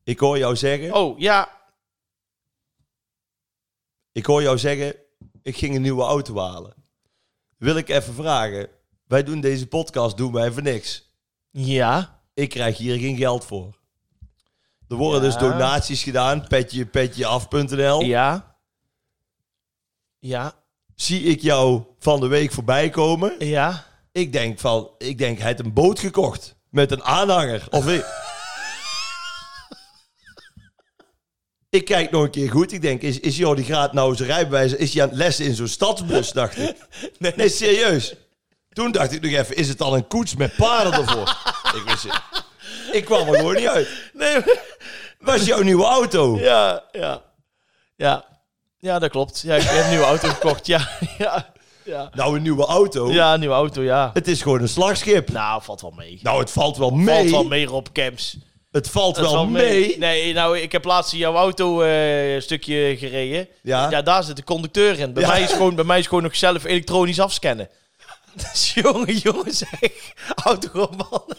B: Ik hoor jou zeggen,
A: Oh, ja.
B: ik hoor jou zeggen, ik ging een nieuwe auto halen. Wil ik even vragen, wij doen deze podcast, doen wij voor niks.
A: Ja.
B: Ik krijg hier geen geld voor. Er worden
A: Ja.
B: dus donaties gedaan, petje, petjeaf.nl.
A: Ja. Ja.
B: Zie ik jou van de week voorbij komen.
A: Ja.
B: Ik denk van, ik denk, hij heeft een boot gekocht met een aanhanger. Of ik... ik kijk nog een keer goed. Ik denk, is, is Jordi Graat nou zijn rijbewijs? Is hij aan het lessen in zo'n stadsbus, dacht ik. Nee. serieus. Toen dacht ik nog even, is het dan een koets met paarden ervoor? ik, wist het. ik kwam er gewoon niet uit.
A: Nee,
B: Was jouw nieuwe auto?
A: ja, ja. Ja. Ja, dat klopt. Ja, ik heb een nieuwe auto gekocht. Ja, ja. Ja,
B: Nou, een nieuwe auto?
A: ja een nieuwe auto, ja.
B: Het is gewoon een slagschip.
A: Nou, valt wel mee.
B: Nou, het valt wel mee.
A: Valt wel mee, Rob Camps.
B: Het valt
A: Dat
B: wel,
A: valt
B: mee.
A: Nee, nou, ik heb laatst in jouw auto eh, een stukje gereden.
B: Ja.
A: Ja, daar zit de conducteur in. Bij,
B: Ja.
A: mij, is gewoon, bij mij is gewoon nog zelf elektronisch afscannen. Dus jongen, jongen, zeg. Autoroman.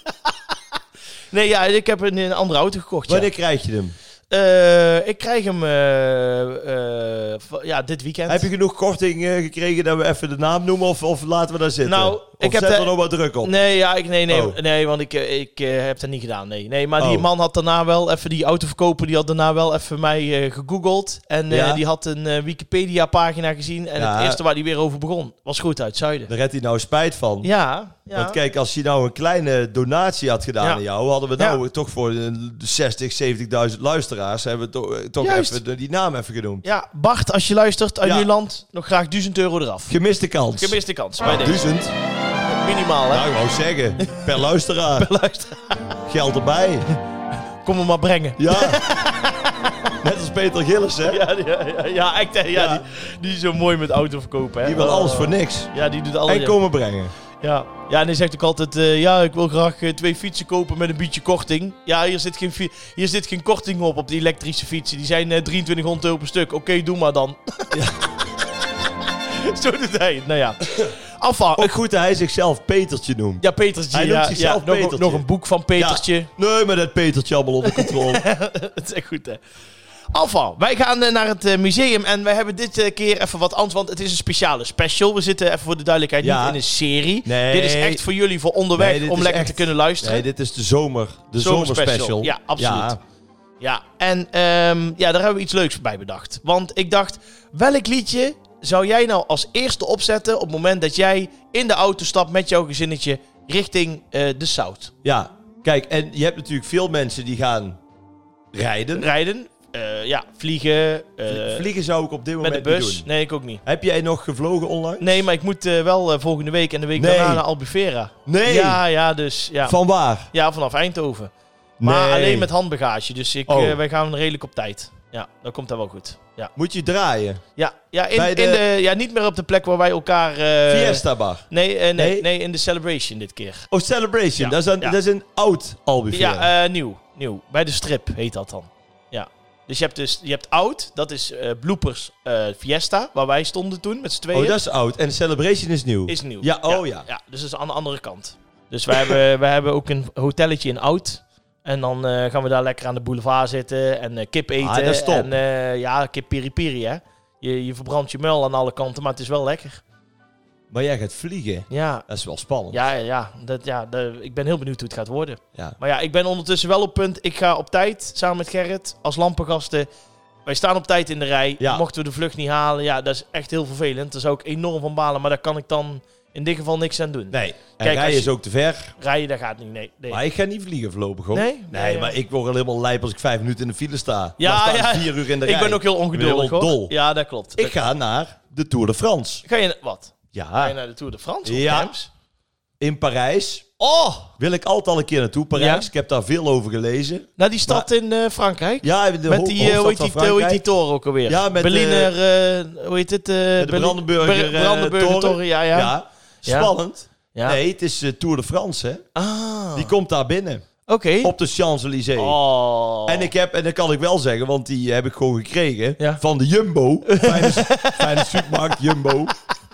A: nee, ja, ik heb een, een andere auto gekocht. ja.
B: Wanneer krijg je hem?
A: Eh, ik krijg hem eh, eh, va- ja, dit weekend.
B: Heb je genoeg korting eh, gekregen dat we even de naam noemen of, of laten we daar zitten?
A: Nou,
B: Of
A: ik heb
B: zet
A: de-
B: er nog wat druk op.
A: Nee, ja, ik, nee, nee,
B: Oh.
A: nee, want ik, eh, ik eh, heb dat niet gedaan. Nee, nee maar die
B: Oh.
A: man had daarna wel even die autoverkoper, die had daarna wel even mij eh, gegoogeld. En eh,
B: Ja.
A: die had een eh, Wikipedia-pagina gezien. En
B: Ja.
A: het eerste waar hij weer over begon was goed uit Zuiden.
B: Daar had hij nou spijt van.
A: Ja, ja.
B: Want kijk, als hij nou een kleine donatie had gedaan
A: Ja.
B: aan jou, hadden we nou
A: Ja.
B: toch voor een 60, 70.000 luisteraars, hebben we to- eh, toch
A: Juist.
B: even de- die naam even genoemd.
A: ja, Bart, als je luistert uit
B: Ja.
A: Nieuwland, nog graag 1000 euro eraf.
B: Gemiste kans.
A: Gemiste kans bij deze.
B: Duizend.
A: Minimaal, hè?
B: Nou, ik wou zeggen, per luisteraar.
A: Luister,
B: Geld erbij.
A: kom hem maar brengen.
B: Ja. Net als Peter Gillis, hè?
A: Ja, ja, ja, ja, echt, hè, ja,
B: Ja.
A: Die, die is zo mooi met auto verkopen. Hè?
B: Die wil
A: Oh.
B: alles voor niks.
A: Ja, die doet alles.
B: En komen brengen.
A: Ja. ja, en hij zegt ook altijd: eh, Ja, ik wil graag eh, twee fietsen kopen met een beetje korting. Ja, hier zit geen, fi- hier zit geen korting op, op die elektrische fietsen. Die zijn eh 2300 euro per stuk. Oké, doe maar dan. Zo doet hij. Nou ja. Afval.
B: Ook goed dat hij zichzelf Petertje noemt.
A: Ja, Petertje.
B: Hij
A: ja,
B: noemt zichzelf
A: ja, nog-
B: Petertje.
A: Nog, een boek van Petertje.
B: Nee, maar dat Petertje allemaal onder controle.
A: Dat is echt goed, hè? Afval. Wij gaan eh, naar het eh, museum en wij hebben dit eh, keer even wat anders, want het is een speciale special. We zitten even voor de duidelijkheid
B: Ja.
A: niet in een serie.
B: Nee.
A: Dit is echt voor jullie, voor onderweg,
B: Nee, dit
A: om
B: is
A: lekker
B: echt-
A: te kunnen luisteren.
B: Nee, dit is de zomer. De
A: Zomerspecial.
B: zomerspecial.
A: Ja, absoluut. Ja, en ehm, ja, daar hebben we iets leuks bij bedacht. Want ik dacht, welk liedje zou jij nou als eerste opzetten op het moment dat jij in de auto stapt met jouw gezinnetje richting eh, de South?
B: Ja, kijk, en je hebt natuurlijk veel mensen die gaan rijden.
A: Rijden, eh, ja, vliegen, eh,
B: Vliegen zou ik op dit
A: met
B: moment
A: de
B: niet
A: bus.
B: doen.
A: Nee, ik ook niet.
B: Heb jij nog gevlogen online?
A: Nee, maar ik moet eh, wel eh, volgende week en de week
B: Nee.
A: daarna naar Albufeira.
B: Nee.
A: Ja, ja, dus ja.
B: Van waar?
A: ja, vanaf Eindhoven. Maar
B: Nee.
A: alleen met handbagage, dus ik,
B: Oh.
A: eh, wij gaan redelijk op tijd. Ja, dan komt dat wel goed. Ja.
B: Moet je draaien?
A: Ja, ja, in,
B: Bij de-
A: in de, ja, niet meer op de plek waar wij elkaar... eh,
B: Fiesta Bar.
A: Nee, eh, nee, nee,
B: Nee?
A: in de Celebration dit keer.
B: Oh,
A: Ja,
B: Celebration. Dat, is een,
A: ja.
B: dat is een oud Albufeira.
A: Ja, eh, nieuw, nieuw. Bij de strip heet dat dan. Ja. Dus je hebt dus, je hebt Oud, dat is eh Bloopers eh, Fiesta, waar wij stonden toen met z'n tweeën.
B: oh, dat is oud. En Celebration is nieuw.
A: is nieuw.
B: Ja, oh ja.
A: Ja, dus dat is aan de andere kant. Dus wij hebben, wij hebben ook een hotelletje in Oud. En dan eh, gaan we daar lekker aan de boulevard zitten en eh, kip eten.
B: Ah, dat is top.
A: En eh, ja, kip piri-piri, hè. Je, je verbrandt je muil aan alle kanten, maar het is wel lekker.
B: Maar jij gaat vliegen.
A: Ja,
B: Dat is wel spannend.
A: Ja, ja, ja, dat, ja dat- ik ben heel benieuwd hoe het gaat worden.
B: Ja.
A: Maar ja, ik ben ondertussen wel op punt. Ik ga op tijd samen met Gerrit als lampengasten. Wij staan op tijd in de rij.
B: Ja.
A: Mochten we de vlucht niet halen, ja, dat is echt heel vervelend. Daar zou ik enorm van balen, maar daar kan ik dan in dit geval niks aan doen.
B: Nee. En
A: Kijk, als
B: rijden
A: je-
B: is ook te ver.
A: Rijden, dat gaat niet. Nee, nee.
B: Maar ik ga niet vliegen voorlopig, hoor.
A: Nee?
B: Nee,
A: Ja,
B: maar
A: ja.
B: ik word al helemaal lijp als ik vijf minuten in de file sta.
A: Ja,
B: Dan sta ik
A: ja.
B: vier uur in de rij.
A: ik ben ook heel ongeduldig,
B: helemaal
A: hoor.
B: dol.
A: Ja, dat klopt.
B: Ik
A: Dat-
B: ga naar de Tour de France.
A: Ga je, wat? Ga je
B: Ja.
A: naar de Tour de France?
B: Ja.
A: Ja.
B: in Parijs.
A: Oh,
B: Wil ik altijd al een keer naartoe, Parijs.
A: Ja.
B: Ik heb daar veel over gelezen.
A: naar die stad in eh, Frankrijk.
B: Ja, in de
A: Met
B: ho-
A: die, eh,
B: hoofdstad
A: hoe, heet
B: van
A: die, hoe heet die
B: Frankrijk.
A: toren ook alweer?
B: Ja, met,
A: Berliner, eh, hoe heet dit? eh
B: de Brandenburger, eh,
A: toren.
B: toren.
A: ja, ja.
B: Ja.
A: ja. Ja.
B: Spannend.
A: Ja.
B: Nee, het is eh, Tour de France, hè.
A: Ah,
B: Die komt daar binnen.
A: oké.
B: Op de Champs-Élysées.
A: Oh.
B: En, ik heb, en dat kan ik wel zeggen, want die heb ik gewoon gekregen.
A: Ja.
B: Van de Jumbo. Fijne, fijne supermarkt, Jumbo.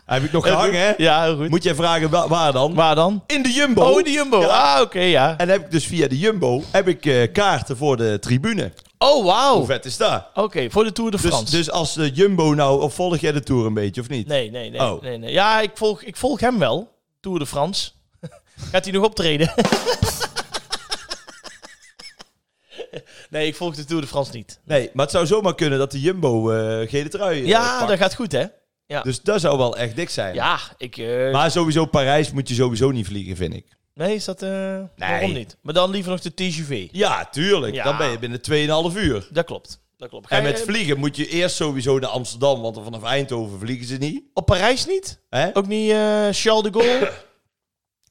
B: Heb ik nog gehangen, hè?
A: Ja, heel goed.
B: Moet jij vragen wa- waar dan?
A: Waar dan?
B: In de Jumbo.
A: Oh, in de Jumbo.
B: Ja.
A: Ah, oké, ja.
B: En heb ik dus via de Jumbo heb ik, eh, kaarten voor de tribune.
A: Oh, wauw.
B: Hoe
A: Oké,
B: vet is dat?
A: voor de Tour de
B: Dus,
A: France.
B: dus als de Jumbo nou... Of volg jij de Tour een beetje, of niet?
A: Nee, nee, nee,
B: Oh.
A: nee, nee. Ja, ik volg, ik volg hem wel. Tour de France. Gaat hij nog optreden? nee, ik volg de Tour de France niet.
B: Nee, maar het zou zomaar kunnen dat de Jumbo eh gele trui eh,
A: Ja,
B: pakt.
A: dat gaat goed, hè?
B: Dus dat zou wel echt dik zijn.
A: Ja, ik... eh,
B: Maar sowieso Parijs moet je sowieso niet vliegen, vind ik.
A: Nee, is dat... eh, Waarom niet? Maar dan liever nog de TGV.
B: Ja, tuurlijk.
A: Ja.
B: Dan ben je binnen 2,5 uur.
A: Dat klopt. Dat klopt. Ga
B: En
A: je
B: met vliegen moet je eerst sowieso naar Amsterdam, want vanaf Eindhoven vliegen ze niet.
A: Op Parijs niet?
B: Hè?
A: Ook niet eh, Charles de Gaulle?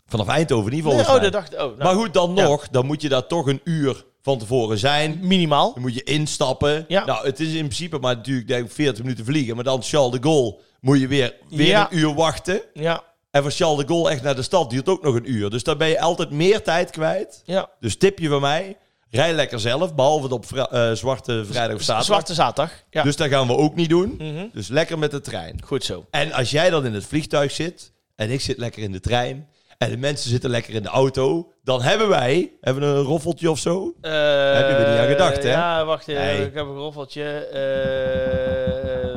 B: Vanaf Eindhoven niet volgens
A: Nee, oh,
B: mij.
A: dat dacht ik. Oh, nou,
B: Maar goed, dan nog, dan moet je daar toch een uur van tevoren zijn.
A: Minimaal.
B: Dan moet je instappen.
A: Ja.
B: Nou, het is in principe maar natuurlijk denk ik, 40 minuten vliegen. Maar dan Charles de Gaulle moet je weer, weer
A: Ja.
B: een uur wachten.
A: Ja,
B: En van Charles de Gaulle echt naar de stad duurt ook nog een uur. Dus daar ben je altijd meer tijd kwijt.
A: ja.
B: Dus tipje van mij, rij lekker zelf. Behalve het op vri- eh, Zwarte Vrijdag of Zaterdag.
A: Zwarte zaterdag. Ja.
B: Dus dat gaan we ook niet doen.
A: Mhm.
B: Dus lekker met de trein.
A: Goed zo.
B: En als jij dan in het vliegtuig zit en ik zit lekker in de trein en de mensen zitten lekker in de auto, dan hebben wij hebben we een roffeltje of zo. Heb je er niet aan gedacht, hè?
A: Eh, Ja, wacht. eh,
B: Nee.
A: Ik heb een roffeltje. eh,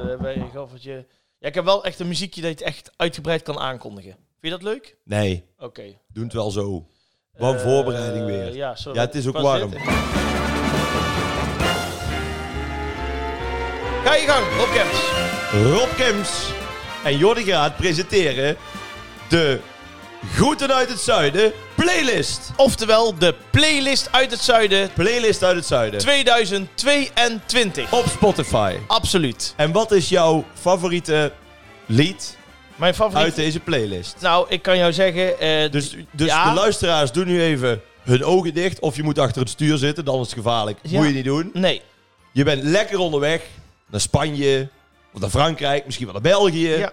A: we hebben een roffeltje. Ja, ik heb wel echt een muziekje dat je het echt uitgebreid kan aankondigen. Vind je dat leuk?
B: Nee,
A: Oké.
B: doen het wel zo. Wat een
A: Eh,
B: voorbereiding weer.
A: Ja, sorry.
B: Ja, het is ook
A: Pas
B: warm.
A: dit. Ga je gang, Rob Kemps.
B: Rob Kems en Jordi Graat presenteren de Groeten uit het Zuiden playlist.
A: Oftewel, de playlist uit het zuiden
B: Playlist uit het Zuiden
A: 2022.
B: op Spotify.
A: Oh, Absoluut.
B: En wat is jouw favoriete lied
A: Mijn favoriet.
B: uit deze playlist?
A: Nou, ik kan jou zeggen. eh,
B: Dus, dus
A: Ja.
B: de luisteraars doen nu even hun ogen dicht. Of je moet achter het stuur zitten, dan is het gevaarlijk.
A: Ja.
B: Moet je niet doen.
A: Nee.
B: Je bent lekker onderweg naar Spanje, of naar Frankrijk, misschien wel naar België.
A: Ja.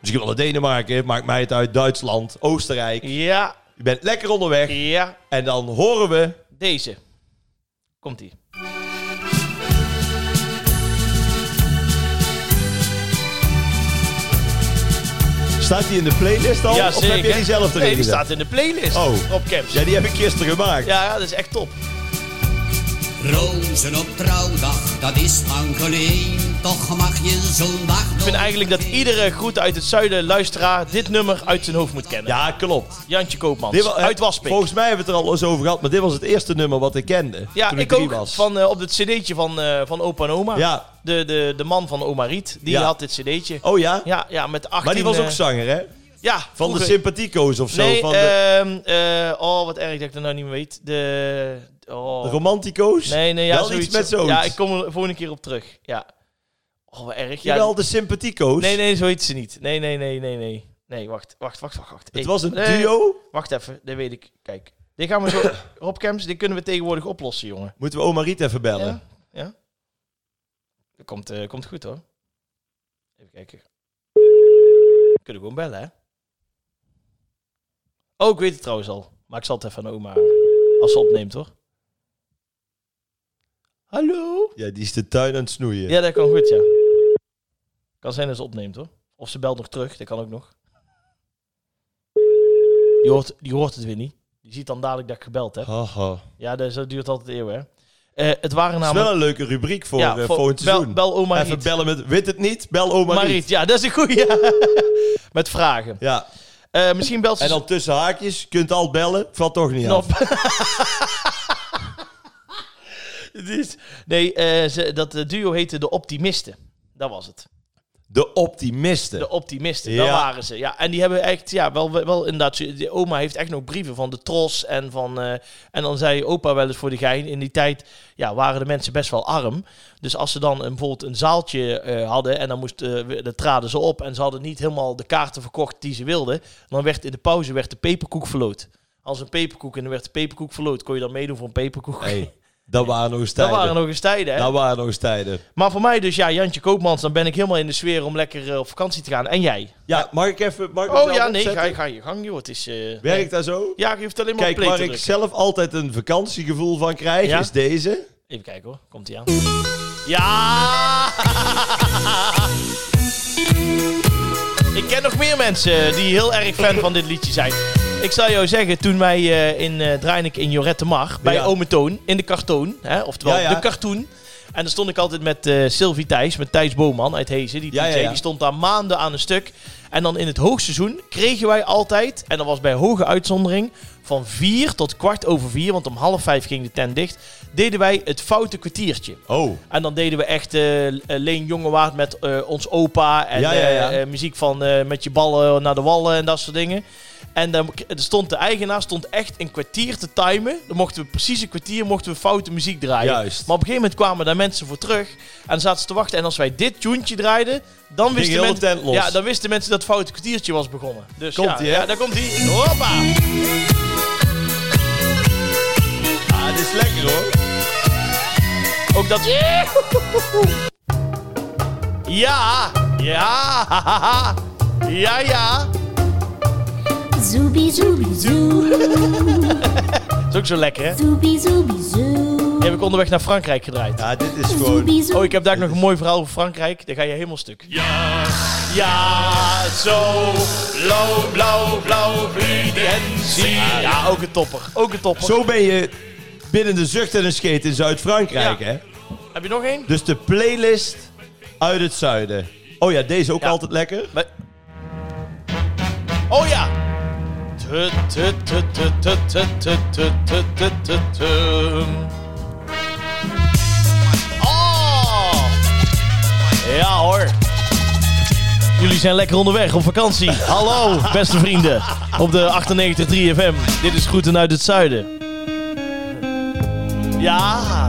B: Misschien wel naar Denemarken, maakt mij het uit. Duitsland, Oostenrijk.
A: Ja.
B: Je bent lekker onderweg
A: Ja.
B: en dan horen we...
A: Deze. Komt-ie.
B: Staat die in de playlist al? Oh, of heb jij die zelf erin
A: Nee, die
B: gezet?
A: staat in de playlist.
B: Oh.
A: Op Camps.
B: Ja, die heb ik gisteren gemaakt.
A: Ja, ja, dat is echt top.
D: Rozen op trouwdag, dat is lang geleden. Toch mag je zo'n dag
A: Ik vind eigenlijk dat iedere groet uit het zuiden luisteraar dit nummer uit zijn hoofd moet kennen.
B: Ja, klopt.
A: Jantje Koopmans.
B: Dit wa-
A: uit Waspik.
B: Volgens mij hebben we het er al eens over gehad, maar dit was het eerste nummer wat ik kende.
A: ja,
B: toen
A: ik
B: drie
A: ook.
B: was.
A: Van, eh, op het cd'tje van, eh, van opa en oma.
B: Ja.
A: De, de, de man van oma Riet. Die
B: Ja.
A: had dit cd'tje.
B: Oh ja?
A: Ja, ja, met 18...
B: Maar die was ook
A: eh,
B: zanger, hè?
A: Ja,
B: Van
A: vroeger.
B: de sympathieco's of zo.
A: Nee,
B: van de,
A: ehm, eh, oh, wat erg dat ik dat nou niet meer weet. De... Oh.
B: de romantico's.
A: Nee, nee, ja,
B: Wel
A: zoiets.
B: iets met zoiets.
A: Ja, ik kom er volgende keer op terug. Ja. Oh, wat erg. Ja,
B: Wel de sympathieco's.
A: nee, nee, zo heet ze niet. Nee, nee, nee, nee, nee. Nee, wacht, wacht, wacht, wacht. wacht.
B: Het
A: Ik-
B: was een
A: nee,
B: duo.
A: Wacht even, dat weet ik. Kijk, dit gaan we zo... Rob Kemps, dit kunnen we tegenwoordig oplossen, jongen.
B: Moeten we oma Riet even bellen?
A: Ja? Ja? Dat komt, eh, komt goed, hoor. Even kijken. We kunnen gewoon bellen, hè? Oh, ik weet het trouwens al. Maar ik zal het even aan oma... Als ze opneemt, hoor. Hallo?
B: Ja, die is de tuin aan het snoeien.
A: Ja, dat kan goed, ja. Kan zijn dat ze opneemt, hoor. Of ze belt nog terug, dat kan ook nog. Die hoort, die hoort het weer niet. Die ziet dan dadelijk dat ik gebeld heb.
B: Haha.
A: Ja, dat, dat duurt altijd eeuwen, hè. Eh, het waren
B: Dat is
A: namelijk...
B: wel een leuke rubriek voor,
A: ja,
B: eh,
A: voor-
B: volgend
A: bel,
B: seizoen.
A: bel oma
B: even
A: Riet.
B: bellen met... Weet het niet? Bel oma
A: Maar
B: Riet.
A: Riet, ja, dat is een goeie. Met vragen.
B: Ja.
A: Eh, misschien belt ze
B: En dan tussen haakjes. Kunt al bellen. Valt toch niet
A: ze op.
B: af.
A: Het is- nee, eh, ze, dat eh, duo heette De Optimisten. Dat was het.
B: De optimisten.
A: De optimisten,
B: Ja.
A: dat waren ze. Ja, en die hebben echt, ja, wel, wel inderdaad. Die oma heeft echt nog brieven van de Tros en van. eh, en dan zei opa wel eens voor de gein. In die tijd ja, waren de mensen best wel arm. Dus als ze dan een, bijvoorbeeld een zaaltje eh, hadden en dan, moest, eh, we- dan traden ze op en ze hadden niet helemaal de kaarten verkocht die ze wilden, dan werd in de pauze werd de peperkoek verloot. Als een peperkoek en dan werd de peperkoek verloot, kon je dan meedoen voor een peperkoek.
B: Hey, dat waren nog eens
A: dat
B: tijden. Nou-
A: waren nog eens tijden, hè?
B: Dat waren nog eens tijden.
A: Maar voor mij dus, ja, Jantje Koopmans, dan ben ik helemaal in de sfeer om lekker eh, op vakantie te gaan. En jij?
B: Ja, mag ik even... Mag ik
A: Oh
B: mezelf
A: ja, nee,
B: opzetten?
A: ga, ga je gang, joh. Het is... eh,
B: Werkt dat zo?
A: Ja, je hoeft alleen maar
B: Kijk,
A: op play
B: waar
A: te
B: ik
A: drukken.
B: zelf altijd een vakantiegevoel van krijg,
A: Ja?
B: is deze.
A: Even kijken hoor, komt hij aan. Ja! ik ken nog meer mensen die heel erg fan van dit liedje zijn. Ik zal jou zeggen, toen wij eh, in eh Dreinik in Jorette Mar, bij
B: Ja.
A: Ome Toon, in de cartoon, hè, oftewel
B: Ja, ja.
A: de cartoon. En dan stond ik altijd met eh Sylvie Thijs, met Thijs Boman uit Hezen, die
B: Ja,
A: DJ,
B: ja, ja.
A: die stond daar maanden aan een stuk. En dan in het hoogseizoen kregen wij altijd, en dat was bij hoge uitzondering, van vier tot kwart over vier, want om half vijf ging de tent dicht, deden wij het foute kwartiertje.
B: Oh,
A: En dan deden we echt eh, Leen Jongewaard met eh, ons opa. En
B: Ja, ja, ja.
A: eh, eh, muziek van eh, met je ballen naar de wallen en dat soort dingen. En dan k- er stond de eigenaar stond echt een kwartier te timen. Dan mochten we precies een kwartier mochten we foute muziek draaien.
B: Juist.
A: Maar op een gegeven moment kwamen daar mensen voor terug. En dan zaten ze te wachten. En als wij dit tuentje draaiden, dan wisten,
B: heel de
A: men-
B: tent los.
A: Ja, dan wisten mensen dat het foute kwartiertje was begonnen. Dus ja,
B: Komt-ie, hè?
A: ja, daar komt hij. Hoppa!
B: ah, dit is lekker hoor.
A: Ook dat. Ja, ja, ja, ja.
E: Zoobie zoobie zoo.
A: Dat is ook zo lekker, hè?
E: Zoobie zoobie zoo.
A: Die heb ik onderweg naar Frankrijk gedraaid.
B: Ja, dit is gewoon...
E: Zoobie zoobie
A: Oh, ik heb daar ook nog een mooi verhaal over Frankrijk. Daar ga je helemaal stuk.
C: Ja,
A: Ja, zo.
C: blauw, blauw, blauw, fludentie.
A: Ja, ook een topper. Ook een topper.
B: Zo ben je binnen de zucht en een scheet in Zuid-Frankrijk,
A: Ja.
B: hè?
A: Heb je nog één?
B: Dus de playlist uit het zuiden. Oh ja, deze ook
A: Ja.
B: altijd lekker.
A: Maar- Oh ja. Tu, tu, tu, tu, tu, tu, tu, tu, tu, tu, tu, tu. Oh. Ja hoor. Jullie zijn lekker onderweg op vakantie. Hallo, beste vrienden. Op de 98.3 FM. Dit is Groeten uit het Zuiden. Ja.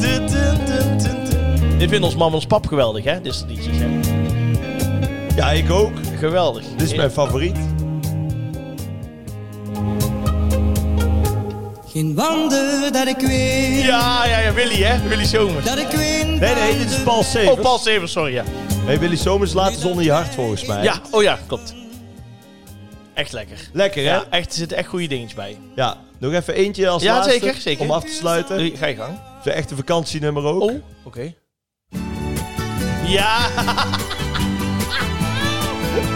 A: Tu, tu, tu, tu, tu. Dit vinden ons mam en ons pap geweldig, hè? Dit soort liedjes, hè?
B: Ja, ik ook.
A: Geweldig.
B: Dit is mijn favoriet.
F: Geen wonder dat ik weet,
A: Ja, ja, ja, Willy, hè? Willy Somers.
F: dat ik weet.
B: Nee, nee, dit is Paul Severs.
A: Oh, Paul Severs, sorry, ja.
B: Hey, Willy Somers laat eens onder je hart volgens mij.
A: Ja, oh ja, klopt. Echt lekker.
B: Lekker hè?
A: Ja,
B: Ja.
A: echt, er zitten echt goede dingetjes bij.
B: Nog even eentje als
A: Ja,
B: laatste.
A: zeker, zeker.
B: Om af te sluiten.
A: Doe- Ga je gang.
B: Zijn echte vakantienummer ook.
A: Oh, oké. Ja!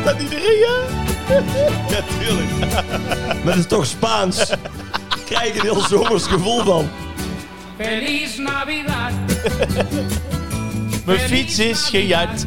A: Dat iedereen, ja?
B: Ja, tuurlijk. maar dat is toch Spaans. Ik krijg een heel zomers gevoel van.
G: Feliz Navidad.
A: Mijn fiets is gejat.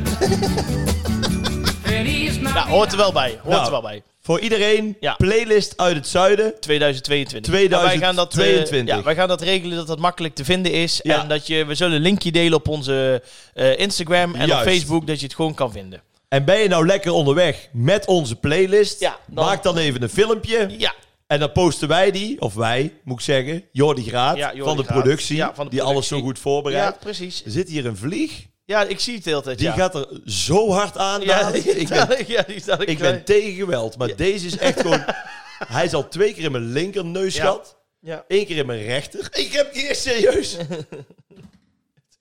G: Feliz Navidad.
A: Nou, hoort er wel bij. Hoort
B: Nou.
A: er wel bij.
B: Voor iedereen,
A: Ja.
B: playlist uit het zuiden.
A: 2022.
B: 2022.
A: Maar wij gaan dat, eh,
B: 22.
A: ja, wij gaan dat regelen dat dat makkelijk te vinden is.
B: Ja.
A: En dat je, we zullen een linkje delen op onze eh, Instagram en
B: Juist.
A: op Facebook, dat je het gewoon kan vinden.
B: En ben je nou lekker onderweg met onze playlist?
A: Ja, dan-
B: Maak dan even een filmpje.
A: Ja,
B: En dan posten wij die, of wij, moet ik zeggen, Jordi Graat,
A: Ja, Jordi
B: van, de
A: Graat.
B: productie,
A: Ja, van de
B: die alles zo
A: productie.
B: goed
A: ja,
B: voorbereidt.
A: precies.
B: Er zit hier een vlieg,
A: Ja, ik zie het de hele tijd.
B: die
A: ja.
B: gaat er zo hard aan.
A: Ja,
B: dadelijk.
A: die-
B: ik ben
A: ja, die staat
B: Ik ben tegen geweld, maar deze is echt gewoon... Hij is al twee keer in mijn linkerneus
A: Ja.
B: gehad.
A: Ja.
B: Eén keer in mijn rechter. Ik heb hier serieus.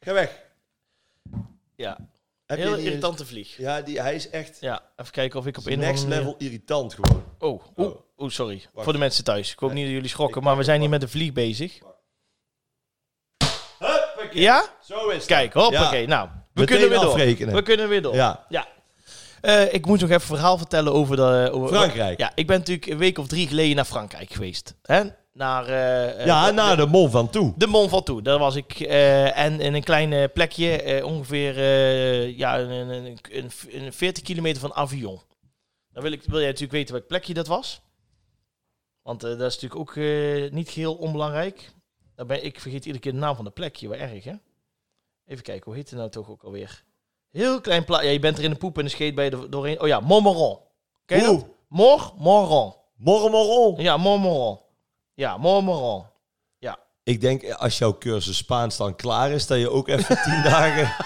B: Ga weg.
A: Ja,
B: Heb je
A: heel
B: die-
A: irritante vlieg.
B: Ja, die, hij is echt
A: eh, Ja, even kijken of ik op een of
B: next
A: andere
B: level irritant gewoon.
A: manier- Oh, oh,
B: Oh.
A: oh, sorry. Voor de mensen thuis. Ik hoop niet dat jullie schrokken, maar we zijn hier met een vlieg bezig.
B: Huppakee.
A: Ja?
B: Zo is het.
A: Kijk, hoppakee.
B: Ja.
A: Nou, we
B: Meteen
A: kunnen weer door.
B: afrekenen.
A: We kunnen weer door.
B: Ja.
A: Eh, ik moet nog even een verhaal vertellen over, de, over
B: Frankrijk.
A: Ja, ik ben natuurlijk een week of drie geleden naar Frankrijk geweest. Hè? Naar, eh, eh,
B: Ja,
A: de-
B: naar de mol van toe.
A: De Mont Ventoux, daar was ik. eh, en in een klein eh, plekje, eh, ongeveer eh, ja, een, een, een, een, een 40 kilometer van Avion. Dan wil, ik, wil jij natuurlijk weten welk plekje dat was. Want eh, dat is natuurlijk ook eh, niet geheel onbelangrijk. Daar ben, ik vergeet iedere keer de naam van de plekje, wat erg hè. Even kijken, hoe heet het nou toch ook alweer? Heel klein plaatje. Ja, je bent er in de poep en de scheet bij de, doorheen. Oh ja, Montmoron. Ken je
B: Hoe?
A: dat? Mor, Moron.
B: Mormorol.
A: Ja, Montmoron. Ja, Montmoron. Ja.
B: Ik denk, als jouw cursus Spaans dan klaar is, dat je ook even tien dagen...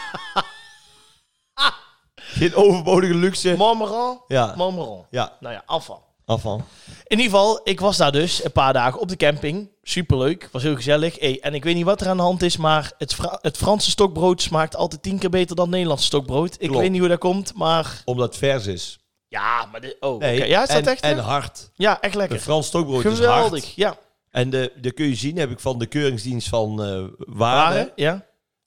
B: Geen overbodige luxe.
A: Montmoron.
B: Ja.
A: Montmoron.
B: Ja,
A: Nou ja, afval.
B: afval.
A: In ieder geval, ik was daar dus een paar dagen op de camping. Superleuk, was heel gezellig. Hey, en ik weet niet wat er aan de hand is, maar het, Fra- het Franse stokbrood smaakt altijd tien keer beter dan het Nederlandse stokbrood. Ik
B: Klopt.
A: weet niet hoe dat komt, maar...
B: Omdat het vers is.
A: Ja, maar... dit- oh,
B: Nee,
A: oké. Ja, is dat
B: en,
A: echt?
B: En
A: ja?
B: hard.
A: ja, echt
B: Een
A: lekker.
B: Frans stokbrood is hard.
A: Geweldig, ja.
B: En de, de kun je zien, heb ik van de keuringsdienst van eh
A: Waren,
B: Waren.
A: Ah, ja,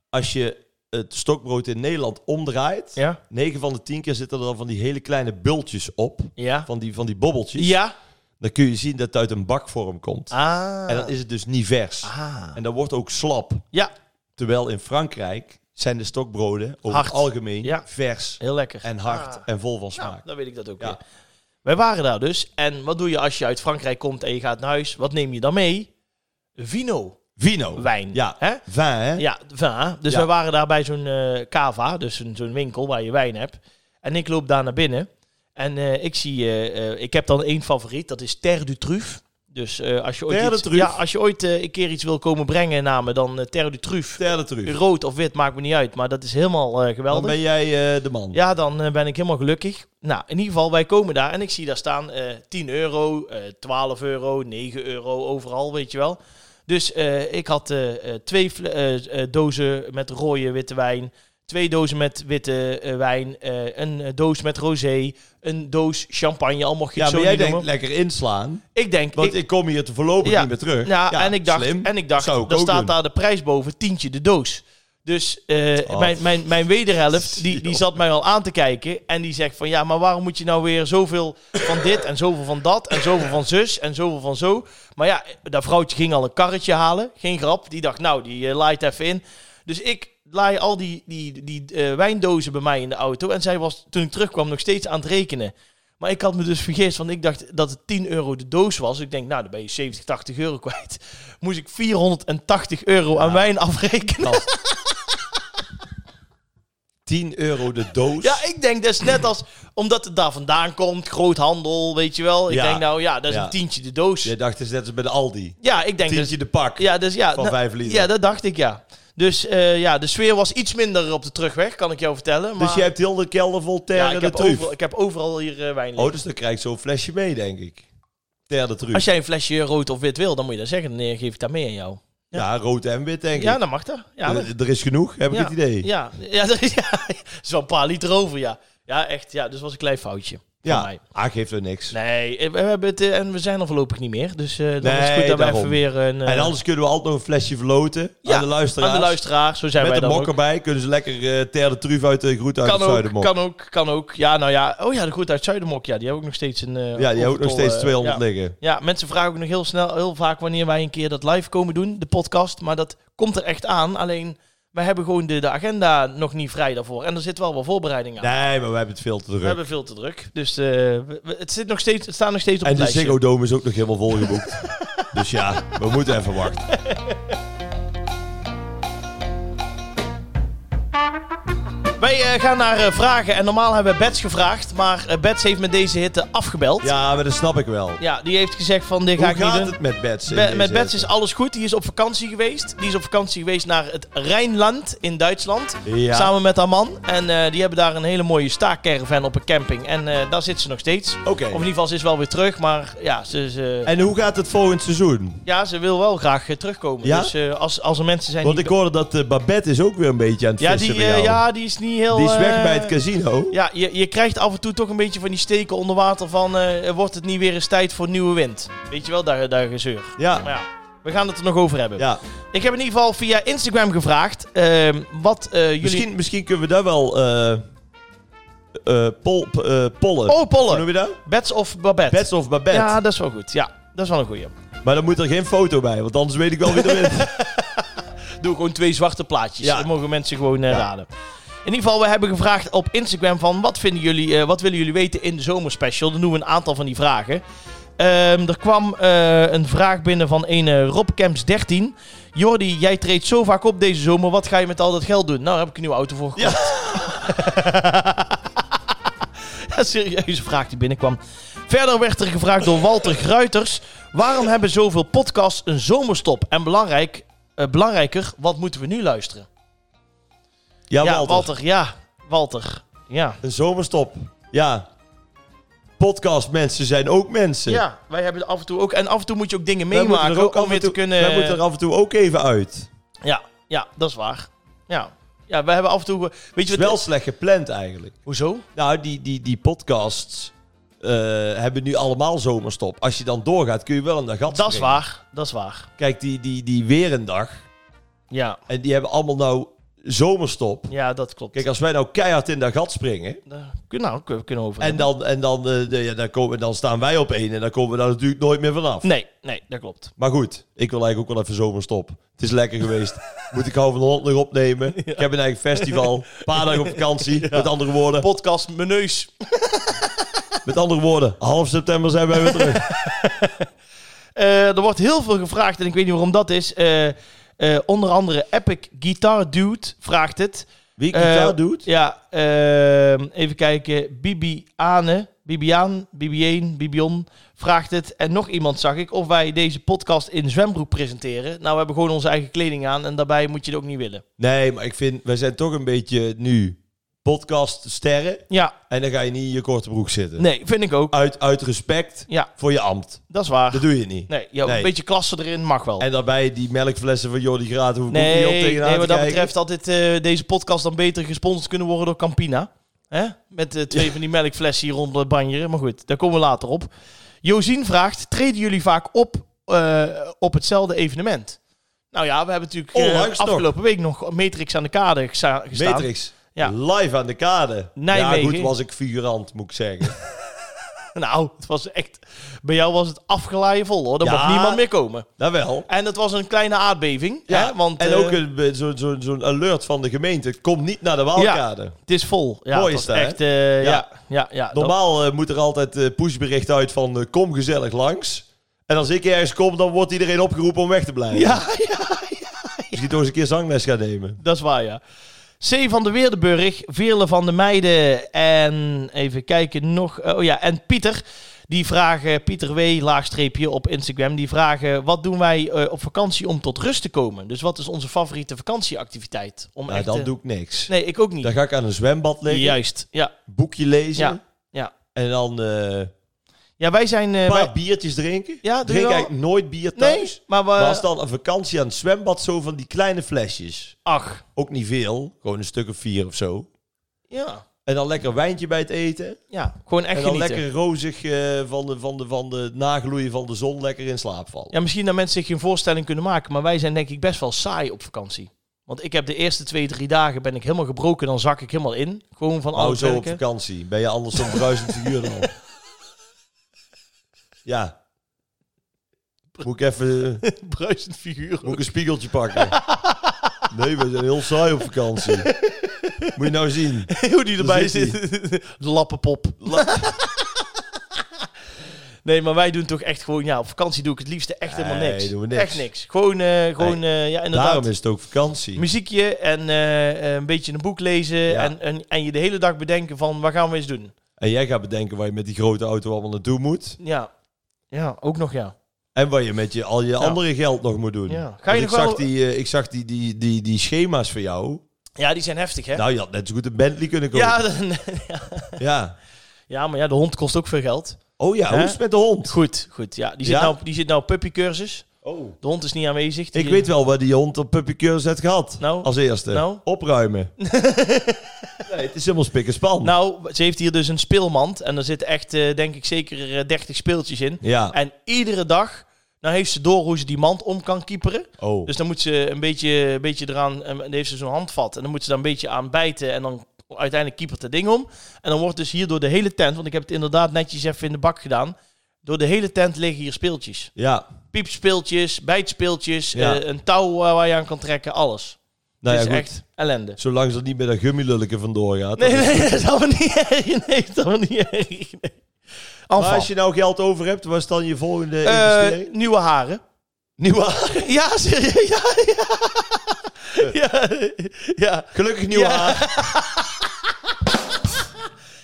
B: Als je het stokbrood in Nederland omdraait,
A: ja,
B: 9 van de 10 keer zitten er dan van die hele kleine bultjes op.
A: ja.
B: Van die, van die bobbeltjes.
A: Ja.
B: Dan kun je zien dat het uit een bakvorm komt.
A: Ah.
B: En dan is het dus niet vers.
A: ah.
B: En dan wordt ook slap.
A: Ja,
B: Terwijl in Frankrijk zijn de stokbroden over
A: Hard.
B: het algemeen
A: Ja.
B: vers
A: heel lekker.
B: en hard
A: Ah.
B: en vol van smaak.
A: Nou, dan weet ik dat ook
B: Ja.
A: weer. Wij waren daar dus. En wat doe je als je uit Frankrijk komt en je gaat naar huis? Wat neem je dan mee? Vino.
B: Vino.
A: Wijn.
B: Ja.
A: Hè?
B: Vin, hè?
A: Ja, va. Dus
B: Ja.
A: wij waren daar bij zo'n eh, cava, dus een- zo'n winkel waar je wijn hebt. En ik loop daar naar binnen. En eh, ik zie, eh, eh, ik heb dan één favoriet, dat is Terre du Truf. Dus eh, als je ooit,
B: Terre de
A: iets,
B: Truffe.
A: ja, als je ooit eh, een keer iets wil komen brengen naar me, dan eh, Terre du Truf.
B: Vertel het terug.
A: Rood of wit, maakt me niet uit, maar dat is helemaal eh,
B: Dan
A: geweldig.
B: ben jij eh, de man.
A: Ja, dan eh, ben ik helemaal gelukkig. Nou, in ieder geval, wij komen daar en ik zie daar staan eh 10 euro, eh 12 euro, 9 euro, overal, weet je wel. Dus eh, ik had eh, eh, twee fle- eh, eh, dozen met rode witte wijn, twee dozen met witte eh, wijn, eh, een eh, doos met rosé, een doos champagne, al mocht je
B: Ja,
A: het
B: maar
A: zo
B: jij
A: niet
B: denkt
A: noemen.
B: lekker inslaan.
A: Ik denk,
B: Want
A: ik-
B: ik, kom hier te voorlopig
A: Ja.
B: niet meer terug.
A: ja, en ik dacht,
B: slim.
A: en ik dacht
B: Zou ik
A: daar
B: ook
A: staat
B: doen.
A: daar de prijs boven, tientje de doos. Dus eh,
B: Oh.
A: mijn, mijn, mijn wederhelft, die, die zat mij al aan te kijken. En die zegt van, ja, maar waarom moet je nou weer zoveel van dit en zoveel van dat... en zoveel van zus en zoveel van zo. Maar ja, dat vrouwtje ging al een karretje halen. Geen grap. Die dacht, nou, die eh, laait even in. Dus ik laai al die, die, die eh, wijndozen bij mij in de auto. En zij was, toen ik terugkwam, nog steeds aan het rekenen. Maar ik had me dus vergist, want ik dacht dat het 10 euro de doos was. Ik denk, nou, dan ben je 70, 80 euro kwijt. Moest ik 480 euro aan wijn afrekenen.
B: Gast. 10 euro de doos.
A: Ja, ik denk dat is net als, omdat het daar vandaan komt, groothandel, weet je wel. Ik
B: Ja.
A: denk, nou ja, dat is
B: Ja.
A: een tientje de doos.
B: Jij dacht, het is net als bij de Aldi.
A: Ja, ik denk dat
B: Tientje de pak.
A: Ja, dus ja.
B: Van
A: nou,
B: vijf liter.
A: Ja, dat dacht ik, ja. Dus eh, ja, de sfeer was iets minder op de terugweg, kan ik jou vertellen. Maar,
B: Dus jij hebt heel de kelder vol terre
A: ja, ik,
B: de
A: heb
B: truuf.
A: overal, ik heb overal hier eh, wijn liggen.
B: Oh, dus dan krijg je zo'n flesje mee, denk ik. Terre de truuf.
A: Als jij een flesje rood of wit wil, dan moet je dat zeggen. Dan eh, geef ik dat mee aan jou.
B: ja. rood en wit, denk
A: Ja,
B: ik.
A: dan mag dat. Ja, dat-
B: er, er is genoeg, heb
A: ja,
B: ik het idee.
A: Ja, ja, er is- ja, er is wel een paar liter over, ja. Ja, echt. Ja, dus was een klein foutje. Van
B: ja.
A: mij.
B: Ah, geeft er niks.
A: Nee, eh, we hebben het, eh, en we zijn er voorlopig niet meer. Dus eh, dan is het
B: Nee,
A: goed dat we
B: daarom.
A: even weer een... eh,
B: En anders kunnen we altijd nog een flesje verloten
A: ja,
B: aan de luisteraars.
A: Aan de luisteraar, zo zijn
B: Met
A: wij
B: de
A: dan
B: mok
A: ook.
B: erbij kunnen ze lekker eh terre de truuf uit de groet uit
A: Kan
B: het
A: ook,
B: zuidenmok.
A: kan ook, kan ook. Ja, nou ja. Oh ja, de goed uit Zuidermok. Ja, die hebben ook nog steeds een... eh,
B: Ja, die hebben ook nog
A: overtol,
B: steeds
A: eh,
B: 200
A: ja.
B: liggen.
A: Ja, mensen vragen ook nog heel snel, heel vaak wanneer wij een keer dat live komen doen, de podcast. Maar dat komt er echt aan. Alleen, wij hebben gewoon de, de agenda nog niet vrij daarvoor. En er zit wel wat voorbereiding aan.
B: Nee, maar we hebben het veel te
A: We
B: druk.
A: hebben veel te druk. Dus eh, we- we- het, zit nog steeds, het staat nog steeds op
B: En
A: het
B: de
A: lijstje.
B: Ziggo Dome is ook nog helemaal volgeboekt. dus ja, we moeten even wachten.
A: Wij eh, gaan naar eh, vragen. En normaal hebben we Bets gevraagd. Maar eh, Bets heeft met deze hitte afgebeld.
B: Ja, maar dat snap ik wel.
A: Ja, die heeft gezegd van, dit ga
B: Hoe
A: ik niet
B: gaat
A: doen.
B: het met Bets? eh, in
A: Be- met
B: deze-
A: Bets is alles goed. Die is op vakantie geweest. Die is op vakantie geweest naar het Rijnland in Duitsland.
B: Ja.
A: Samen met haar man. En eh, die hebben daar een hele mooie staakcaravan op een camping. En eh, daar zit ze nog steeds.
B: Oké.
A: Of in ieder geval, ze is wel weer terug. Maar ja, ze, ze,
B: En hoe gaat het volgend seizoen?
A: ja, ze wil wel graag eh, terugkomen.
B: Ja?
A: Dus eh, als, als er mensen zijn
B: Want
A: die...
B: ik hoorde dat eh, Babette is ook weer een beetje aan het
A: ja,
B: vissen
A: die,
B: bij
A: eh,
B: jou.
A: ja, die is niet heel...
B: die is weg
A: eh,
B: bij het casino.
A: Ja, je, je krijgt af en toe toch een beetje van die steken onder water van... eh, wordt het niet weer eens tijd voor nieuwe wind? Weet je wel, daar, daar gezeur.
B: Ja,
A: Maar ja, we gaan het er nog over hebben.
B: ja.
A: Ik heb in ieder geval via Instagram gevraagd ehm, wat eh, jullie...
B: Misschien, misschien kunnen we daar wel eh, eh, pol, eh, pollen.
A: Oh,
B: Hoe
A: pollen.
B: noem je dat?
A: Bets of Babette.
B: Bets of Babette.
A: Ja, dat is wel goed. Ja, dat is wel een goeie.
B: Maar dan moet er geen foto bij, want anders weet ik wel wie er wint.
A: Doe gewoon twee zwarte plaatjes.
B: Ja.
A: Dan mogen mensen gewoon eh, raden. In ieder geval, we hebben gevraagd op Instagram van... Wat, vinden jullie, eh, wat willen jullie weten in de zomerspecial? Dan doen we een aantal van die vragen. Ehm, er kwam eh, een vraag binnen van een eh, Rob Camps 13. Jordi, jij treedt zo vaak op deze zomer. Wat ga je met al dat geld doen? Nou, daar heb ik een nieuwe auto voor gekocht. Een serieuze vraag die binnenkwam. Verder werd er gevraagd door Walter Gruiters... waarom hebben zoveel podcasts een zomerstop? En belangrijk, eh, belangrijker, wat moeten we nu luisteren?
B: Ja,
A: ja, Ah,
B: Walter.
A: Walter. Ja, Walter. Ja.
B: Een zomerstop. Ja. Podcastmensen zijn ook mensen.
A: ja, wij hebben af en toe ook... En af en toe moet je ook dingen
B: Wij moeten
A: meemaken
B: er
A: ook
B: af
A: om
B: en
A: weer te
B: toe-
A: kunnen...
B: Wij moeten er af en toe ook even uit. Het
A: Ja, ja, dat is waar. Ja, ja wij hebben af en toe... eh, Weet je
B: is
A: wat...
B: wel slecht gepland eigenlijk.
A: Hoezo?
B: Nou, die, die, die podcasts eh, hebben nu allemaal zomerstop. Als je dan doorgaat, kun je wel in de gat
A: Dat is
B: springen.
A: waar. Dat is waar.
B: Kijk, die, die, die Weerendag.
A: Ja,
B: En die hebben allemaal nou zomerstop.
A: ja dat klopt.
B: Kijk, als wij nou keihard in dat gat springen.
A: Eh, nou, kunnen we kunnen over.
B: En
A: hebben.
B: dan, en dan, eh, de- ja, dan, komen, dan staan wij op één. En dan komen we daar natuurlijk nooit meer vanaf.
A: Nee, nee, dat klopt.
B: Maar goed, ik wil eigenlijk ook wel even zomerstop. Het is lekker geweest. Moet ik Hou van Holland nog opnemen? Ik heb een eigen festival. Een paar dagen op vakantie. Met andere woorden,
A: Podcast meneus.
B: met andere woorden, half september zijn wij weer terug.
A: Eh, er wordt heel veel gevraagd en ik weet niet waarom dat is. Eh, eh, onder andere Epic Guitar Dude vraagt het.
B: Wie
A: Eh,
B: gitaar doet?
A: Ja, ehm, even kijken. Bibiane, Bibiaan, Bibieen, Bibion vraagt het. En nog iemand zag ik of wij deze podcast in zwembroek presenteren. Nou, we hebben gewoon onze eigen kleding aan en daarbij moet je het ook niet willen.
B: Nee, maar ik vind, wij zijn toch een beetje nu podcaststerren.
A: Ja,
B: En dan ga je niet in je korte broek zitten.
A: nee, vind ik ook.
B: Uit, uit respect
A: Ja,
B: voor je ambt.
A: dat is waar.
B: Dat doe je niet.
A: Nee, ja, een
B: Nee.
A: beetje klasse erin mag wel.
B: En daarbij die melkflessen van Jordi Graat hoef ik ook
A: Nee,
B: niet op
A: nee,
B: tegenaan te
A: wat dat
B: kijken.
A: betreft had dit, eh, deze podcast dan beter gesponsord kunnen worden door Campina. Hè? Met eh, twee van die melkflessen hier rond het banjeren. Maar goed, daar komen we later op. Josien vraagt, treden jullie vaak op eh, op hetzelfde evenement? Nou ja, we hebben natuurlijk eh,
B: Onlangs nog.
A: afgelopen week nog Matrix aan de kade gesa- gestaan.
B: Matrix.
A: Ja.
B: Live aan de kade.
A: Nijmegen.
B: Ja, goed, was ik figurant, moet ik zeggen.
A: Nou, het was echt... Bij jou was het afgelaaien vol, hoor. Er
B: Ja.
A: mocht niemand meer komen.
B: dat Nou, wel.
A: En dat was een kleine aardbeving.
B: Ja,
A: hè? Want,
B: en
A: eh,
B: ook een- zo'n zo'n- zo'n alert van de gemeente. Kom niet naar de Waalkade.
A: het is vol. Ja,
B: Mooi
A: het
B: is
A: was
B: dat, hè?
A: echt, eh, ja.
B: Ja.
A: Ja, ja, dat-
B: Normaal eh, moet er altijd eh, pushbericht uit van eh, kom gezellig langs. En als ik ergens kom, dan wordt iedereen opgeroepen om weg te blijven.
A: Ja, ja,
B: Misschien toch eens een keer zangles gaan nemen.
A: Dat is waar, ja. C van de Weerdenburg, Veerle van de Meiden en even kijken nog. eh, Oh ja, en Pieter. Die vragen, Pieter W. laagstreepje op Instagram. Die vragen, wat doen wij eh, op vakantie om tot rust te komen? Dus wat is onze favoriete vakantieactiviteit? Om
B: Nou,
A: echt,
B: dan
A: eh,
B: doe ik niks.
A: Nee, ik ook niet.
B: Dan ga ik aan een zwembad liggen,
A: Juist, ja.
B: boekje lezen.
A: Ja, ja.
B: En dan eh, een
A: Ja, wij zijn... eh,
B: paar
A: wij-
B: biertjes drinken.
A: Ja, doe je
B: Drink
A: wel.
B: eigenlijk nooit bier thuis.
A: nee, maar eh, we...
B: Maar als dan een vakantie aan het zwembad, zo van die kleine flesjes.
A: Ach,
B: Ook niet veel, gewoon een stuk of vier of zo.
A: ja.
B: En dan lekker wijntje bij het eten.
A: Ja, gewoon echt
B: en dan
A: genieten.
B: lekker rozig eh, van, de, van, de, van de nagloeien van de zon lekker in slaap vallen.
A: Ja, misschien dat mensen zich geen voorstelling kunnen maken, maar wij zijn denk ik best wel saai op vakantie. Want ik heb de eerste twee, drie dagen ben ik helemaal gebroken, dan zak ik helemaal in. Gewoon van
B: Hou
A: alles
B: Nou, zo op
A: werken.
B: vakantie. Ben je anders zo'n bruisend figuur dan? Ja. Moet ik even
A: Bruisend figuur.
B: moet ik een spiegeltje pakken? Nee, we zijn heel saai op vakantie. Moet je nou zien.
A: Hoe die erbij
B: Daar
A: zit.
B: zit
A: De lappenpop. nee, maar wij doen toch echt gewoon, ja, op vakantie doe ik het liefste echt helemaal
B: Nee,
A: niks.
B: doen we niks.
A: Echt niks. Gewoon, eh, gewoon eh, ja, inderdaad.
B: Daarom is het ook vakantie.
A: Muziekje en eh, een beetje een boek lezen
B: Ja.
A: en, en, en je de hele dag bedenken van, wat gaan we eens doen?
B: En jij gaat bedenken waar je met die grote auto allemaal naartoe moet.
A: Ja, ja ook nog ja.
B: En wat je met je, al je andere geld nog moet doen.
A: Ja. Ga je
B: Want
A: nog
B: ik, zag
A: wel-
B: die, eh, ik zag die, die, die, die schema's van jou.
A: Ja, die zijn heftig, hè?
B: Nou, je had net zo goed een Bentley kunnen kopen.
A: Ja,
B: Ja.
A: dan-
B: ja.
A: ja, maar ja, de hond kost ook veel geld.
B: Oh ja,
A: Hè?
B: hoe is het met de hond?
A: Goed, goed. Ja, die zit,
B: Ja?
A: Nou, die zit nou op puppycursus.
B: Oh.
A: De hond is niet aanwezig. Die-
B: Ik weet wel waar die hond op Puppy Curse heeft gehad.
A: Nou?
B: Als eerste.
A: Nou?
B: Opruimen. nee, het is helemaal spik en span.
A: Nou, ze heeft hier dus een speelmand. En daar zitten echt, eh, denk ik, zeker eh, 30 speeltjes in.
B: ja.
A: En iedere dag, nou heeft ze door hoe ze die mand om kan kieperen.
B: Oh.
A: Dus dan moet ze een beetje, een beetje eraan, en dan heeft ze zo'n handvat. En dan moet ze daar een beetje aan bijten. En dan uiteindelijk kiepert het ding om. En dan wordt dus hier door de hele tent, want ik heb het inderdaad netjes even in de bak gedaan. Door de hele tent liggen hier speeltjes.
B: ja.
A: piepspeeltjes, bijtspeeltjes,
B: Ja.
A: eh, een touw waar, waar je aan kan trekken, alles.
B: Nou
A: het
B: ja,
A: is
B: goed.
A: echt ellende.
B: Zolang ze er niet met dat gummilulke vandoor gaat.
A: Nee,
B: dan is-
A: nee, dat is allemaal niet erg. Nee, dat is allemaal niet erg. Nee.
B: Maar
A: Enfin,
B: als je nou geld over hebt, wat is dan je volgende
A: eh,
B: investering?
A: nieuwe haren.
B: Nieuwe
A: Ja, serieus. Ja, ja. ja.
B: Eh. Gelukkig nieuw
A: Ja.
B: haar.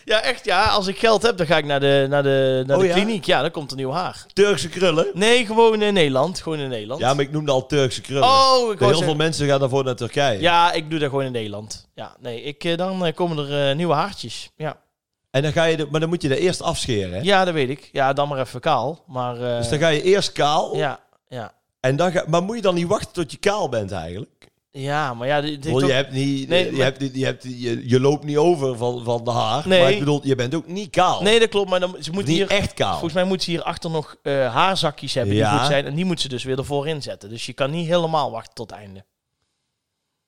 A: Ja, echt ja. Als ik geld heb, dan ga ik naar de, naar de, naar
B: Oh,
A: de
B: ja?
A: kliniek. Ja, dan komt er nieuw haar.
B: Turkse krullen.
A: Nee, gewoon in Nederland. Gewoon in Nederland.
B: Ja, maar ik noemde al Turkse krullen.
A: Oh, ik wou
B: Dat heel
A: zeggen-
B: veel mensen gaan daarvoor naar Turkije.
A: Ja, ik doe dat gewoon in Nederland. Ja, nee, ik, eh, dan eh, komen er eh, nieuwe haartjes. Ja.
B: En dan ga je, de- maar dan moet je dat eerst afscheren. Hè?
A: ja, dat weet ik. Ja, dan maar even kaal. Maar, eh,
B: Dus dan ga je eerst kaal.
A: ja, ja.
B: En dan ga, maar moet je dan niet wachten tot je kaal bent eigenlijk?
A: ja, maar ja... dit- dit
B: Want je
A: ook-
B: hebt niet,
A: Nee,
B: je,
A: maar-
B: hebt, niet- je, hebt, je, je loopt niet over van, van de haar.
A: Nee.
B: Maar ik bedoel, je bent ook niet kaal.
A: Nee, dat klopt, maar dan, ze moet
B: niet
A: hier...
B: echt kaal.
A: Volgens mij moet ze hierachter nog eh, haarzakjes hebben die
B: Ja.
A: goed zijn. En die moet ze dus weer ervoor inzetten. Dus je kan niet helemaal wachten tot het einde.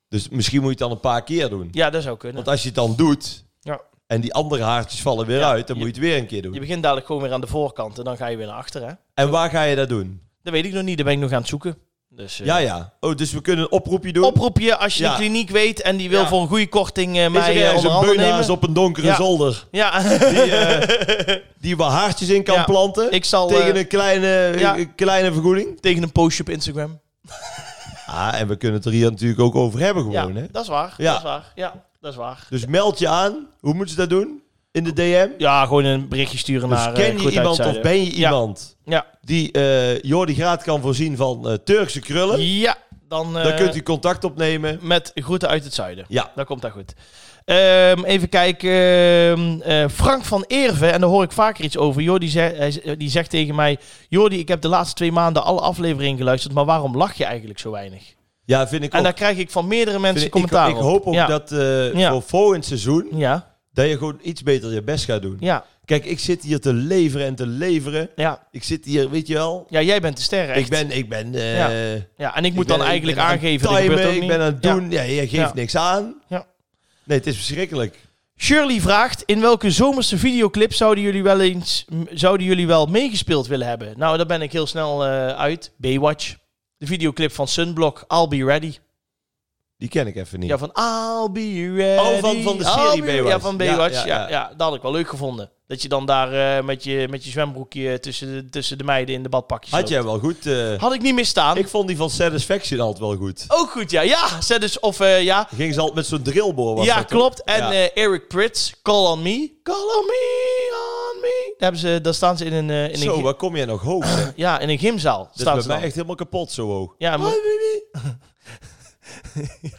B: Dus misschien moet je het dan een paar keer doen.
A: Ja, dat zou kunnen.
B: Want als je het dan doet
A: Ja.
B: en die andere haartjes vallen weer
A: Ja,
B: uit, dan
A: je-
B: moet je het weer een keer doen.
A: Je begint dadelijk gewoon weer aan de voorkant en dan ga je weer naar achteren.
B: en waar ga je dat doen?
A: Dat weet ik nog niet, daar ben ik nog aan het zoeken. Dus, eh,
B: Ja, ja. Oh, dus we kunnen een oproepje doen.
A: Oproepje als je
B: Ja.
A: de kliniek weet en die wil
B: Ja.
A: voor een goede korting eh,
B: Is er
A: mij eh,
B: ergens
A: onder
B: een
A: handen
B: beunhaas
A: nemen.
B: op een donkere
A: Ja.
B: zolder
A: Ja,
B: die, eh, die waar haartjes in kan
A: Ja.
B: planten
A: ik zal
B: tegen
A: tegen,
B: een kleine,
A: ja.
B: een kleine vergoeding?
A: tegen een postje op Instagram.
B: Ah, en we kunnen het er hier natuurlijk ook over hebben gewoon,
A: ja,
B: hè?
A: dat is waar.
B: Ja.
A: Dat is waar. Ja, dat is waar.
B: Dus meld je aan. Hoe moeten ze dat doen? In de DM?
A: Ja, gewoon een berichtje sturen
B: Dus
A: naar... eh,
B: ken je
A: Goed
B: iemand of
A: Uitzijden.
B: ben je
A: Ja.
B: iemand
A: Ja,
B: die eh Jordi Graat kan voorzien van eh, Turkse krullen?
A: ja dan... eh,
B: Dan kunt u contact opnemen.
A: Met groeten uit het zuiden.
B: Ja.
A: Dan komt dat goed. Ehm, even kijken. ehm, eh, Frank van Eerven, en daar hoor ik vaker iets over. Jordi zegt, hij z- die zegt tegen mij... Jordi, ik heb de laatste twee maanden alle afleveringen geluisterd... maar waarom lach je eigenlijk zo weinig?
B: Ja, vind ik ook.
A: En daar krijg ik van meerdere mensen
B: Vind ik-
A: commentaar
B: ik, ik
A: op.
B: hoop ook
A: ja.
B: dat eh,
A: Ja.
B: voor volgend seizoen...
A: Ja,
B: dat je gewoon iets beter je best gaat doen.
A: ja,
B: Kijk, ik zit hier te leveren en te leveren.
A: ja.
B: Ik zit hier, weet je wel...
A: Ja, jij bent de ster, echt.
B: Ik ben... Ik ben eh,
A: Ja.
B: ik
A: ja, en ik moet
B: ben-
A: dan eigenlijk
B: ben aan het
A: aangeven... dat
B: timen,
A: gebeurt ook
B: ik
A: niet.
B: ben aan het
A: Ja.
B: doen. Ja, je geeft
A: Ja.
B: niks aan.
A: Ja.
B: Nee, het is verschrikkelijk.
A: Shirley vraagt, in welke zomerse videoclip zouden jullie wel eens... m- zouden jullie wel meegespeeld willen hebben? Nou, daar ben ik heel snel eh, uit. Baywatch. De videoclip van Sunblock, I'll Be Ready.
B: Die ken ik even niet.
A: Ja, van I'll Be Ready.
B: Oh, van- van de
A: I'll
B: serie
A: be-
B: Baywatch.
A: Ja, van Baywatch. Ja,
B: Ja,
A: ja,
B: ja, ja.
A: dat had ik wel leuk gevonden. Dat je dan daar eh, met, je, met je zwembroekje tussen de, tussen de meiden in de badpakjes
B: Had
A: loopt.
B: jij wel goed... eh,
A: Had ik niet misstaan.
B: ik vond die van Satisfaction altijd wel goed.
A: Ook goed, ja. Ja, ze dus, of eh, ja.
B: Ging ze altijd met zo'n drillboor? was
A: ja,
B: dat toch?
A: klopt. En
B: Ja.
A: eh, Eric Prits, Call on Me. Call on me, on me. Daar, hebben ze, daar staan ze in een, eh, in een,
B: Zo,
A: gy-
B: waar kom jij nog hoog? zeg.
A: ja, in een gymzaal.
B: Dat is
A: Staan
B: bij
A: ze
B: mij
A: dan.
B: echt helemaal kapot zo hoog.
A: Ja, en-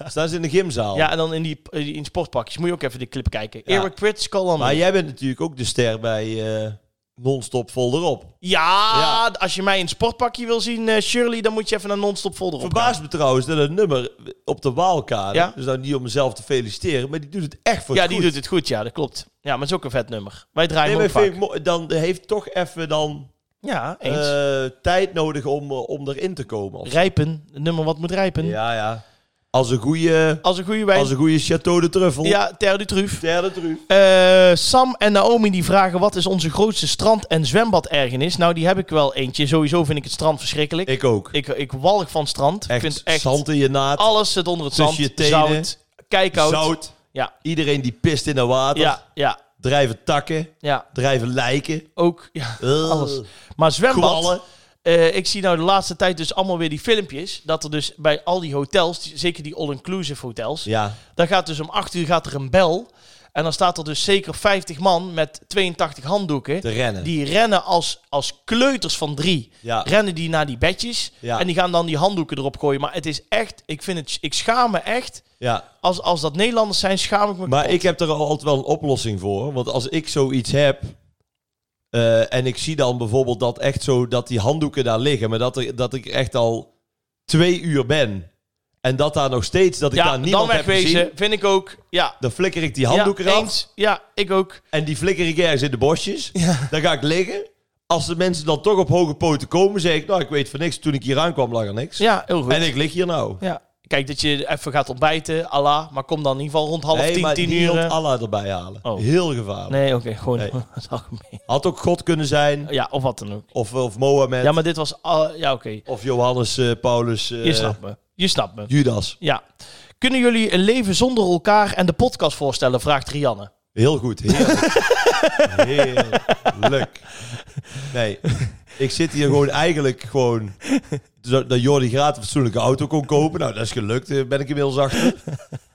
B: Staan ze in de gymzaal.
A: ja, en dan in, die, eh, in sportpakjes. Moet je ook even die clip kijken.
B: Ja.
A: Eric Prits, Call on
B: Maar
A: Me.
B: jij bent natuurlijk ook de ster bij eh, Non-Stop Vol erop.
A: Ja,
B: Ja.
A: als je mij in een sportpakje wil zien, eh, Shirley, dan moet je even naar non-stop folder op. gaan.
B: Verbaast me trouwens dat het nummer op de Waalkade,
A: Ja.
B: dus nou niet om mezelf te feliciteren, maar die doet het echt voor
A: Ja,
B: het
A: die
B: goed.
A: doet het goed. Ja, dat klopt. Ja, maar het is ook een vet nummer. Wij draaien
B: Nee,
A: hem
B: maar
A: ook
B: vind
A: vaak.
B: ik mo- dan heeft toch even dan
A: Ja,
B: eh,
A: eens.
B: tijd nodig om, eh, om erin te komen. of zo.
A: rijpen. Het nummer wat moet rijpen.
B: Ja, ja. Als een goede,
A: Als een goede wijn.
B: als een goede Chateau de Truffel.
A: Ja, Ter de Truuf.
B: Ster de Truffel.
A: Eh, Sam en Naomi die vragen wat is onze grootste strand- en zwembadergernis? Nou, die heb ik wel eentje. Sowieso vind ik het strand verschrikkelijk. Ik,
B: Ik ook.
A: ik, walg van strand.
B: echt,
A: ik vind echt
B: zand in je naad,
A: alles zit onder het
B: Tussen
A: zand.
B: je tenen.
A: Zout, kijkhout.
B: zout.
A: Ja,
B: Iedereen die pist in het water.
A: ja, ja,
B: Drijven takken.
A: ja.
B: Drijven lijken.
A: Ook ja,
B: Ugh.
A: alles. Maar zwembad...
B: Kwallen.
A: eh, ik zie nou de laatste tijd dus allemaal weer die filmpjes. Dat er dus bij al die hotels, die- zeker die all-inclusive hotels...
B: Ja.
A: Dan gaat dus om 8 uur gaat er een bel. En dan staat er dus zeker 50 man met 82 handdoeken.
B: Te rennen.
A: Die rennen als, als kleuters van drie.
B: Ja.
A: Rennen die naar die bedjes.
B: Ja.
A: En die gaan dan die handdoeken erop gooien. Maar het is echt, ik vind het, ik schaam me echt.
B: ja.
A: Als, als dat Nederlanders zijn, schaam ik me.
B: Maar
A: kapot.
B: ik heb er altijd wel een oplossing voor. Want als ik zoiets heb. eh, en ik zie dan bijvoorbeeld dat echt zo dat die handdoeken daar liggen. Maar dat, er, dat ik echt al twee uur ben. En dat daar nog steeds dat ik
A: ja,
B: daar niemand
A: dan
B: heb gezien.
A: wegwezen, vind ik ook. Ja.
B: Dan flikker ik die handdoeken
A: ja,
B: af.
A: eens. Ja, ik ook.
B: En die flikker ik ergens in de bosjes. Dan ga ik liggen. Als de mensen dan toch op hoge poten komen, zeg ik, nou, ik weet van niks. Toen ik hier aankwam, lag er niks.
A: Ja, heel goed.
B: En ik lig hier nou.
A: ja. Kijk, dat je even gaat ontbijten, Allah. Maar kom dan in ieder geval rond half
B: Nee,
A: tien,
B: maar
A: tien
B: niet
A: uur. eh.
B: Allah erbij halen.
A: Oh.
B: Heel gevaarlijk.
A: Nee, oké, gewoon
B: Nee.
A: het algemeen.
B: Had ook God kunnen zijn.
A: Ja, of wat dan ook.
B: Of, of Mohammed.
A: Ja, maar dit was... al- ja, oké.
B: Of Johannes, eh, Paulus, eh,
A: Je snapt me. Je snapt me.
B: Judas.
A: Ja. Kunnen jullie een leven zonder elkaar en de podcast voorstellen? Vraagt Rianne.
B: Heel goed. Heerlijk. Heerlijk. Nee, ik zit hier gewoon eigenlijk gewoon... Dat dat Jordi Graat een fatsoenlijke auto kon kopen. Nou, dat is gelukt. eh, ben ik inmiddels achter.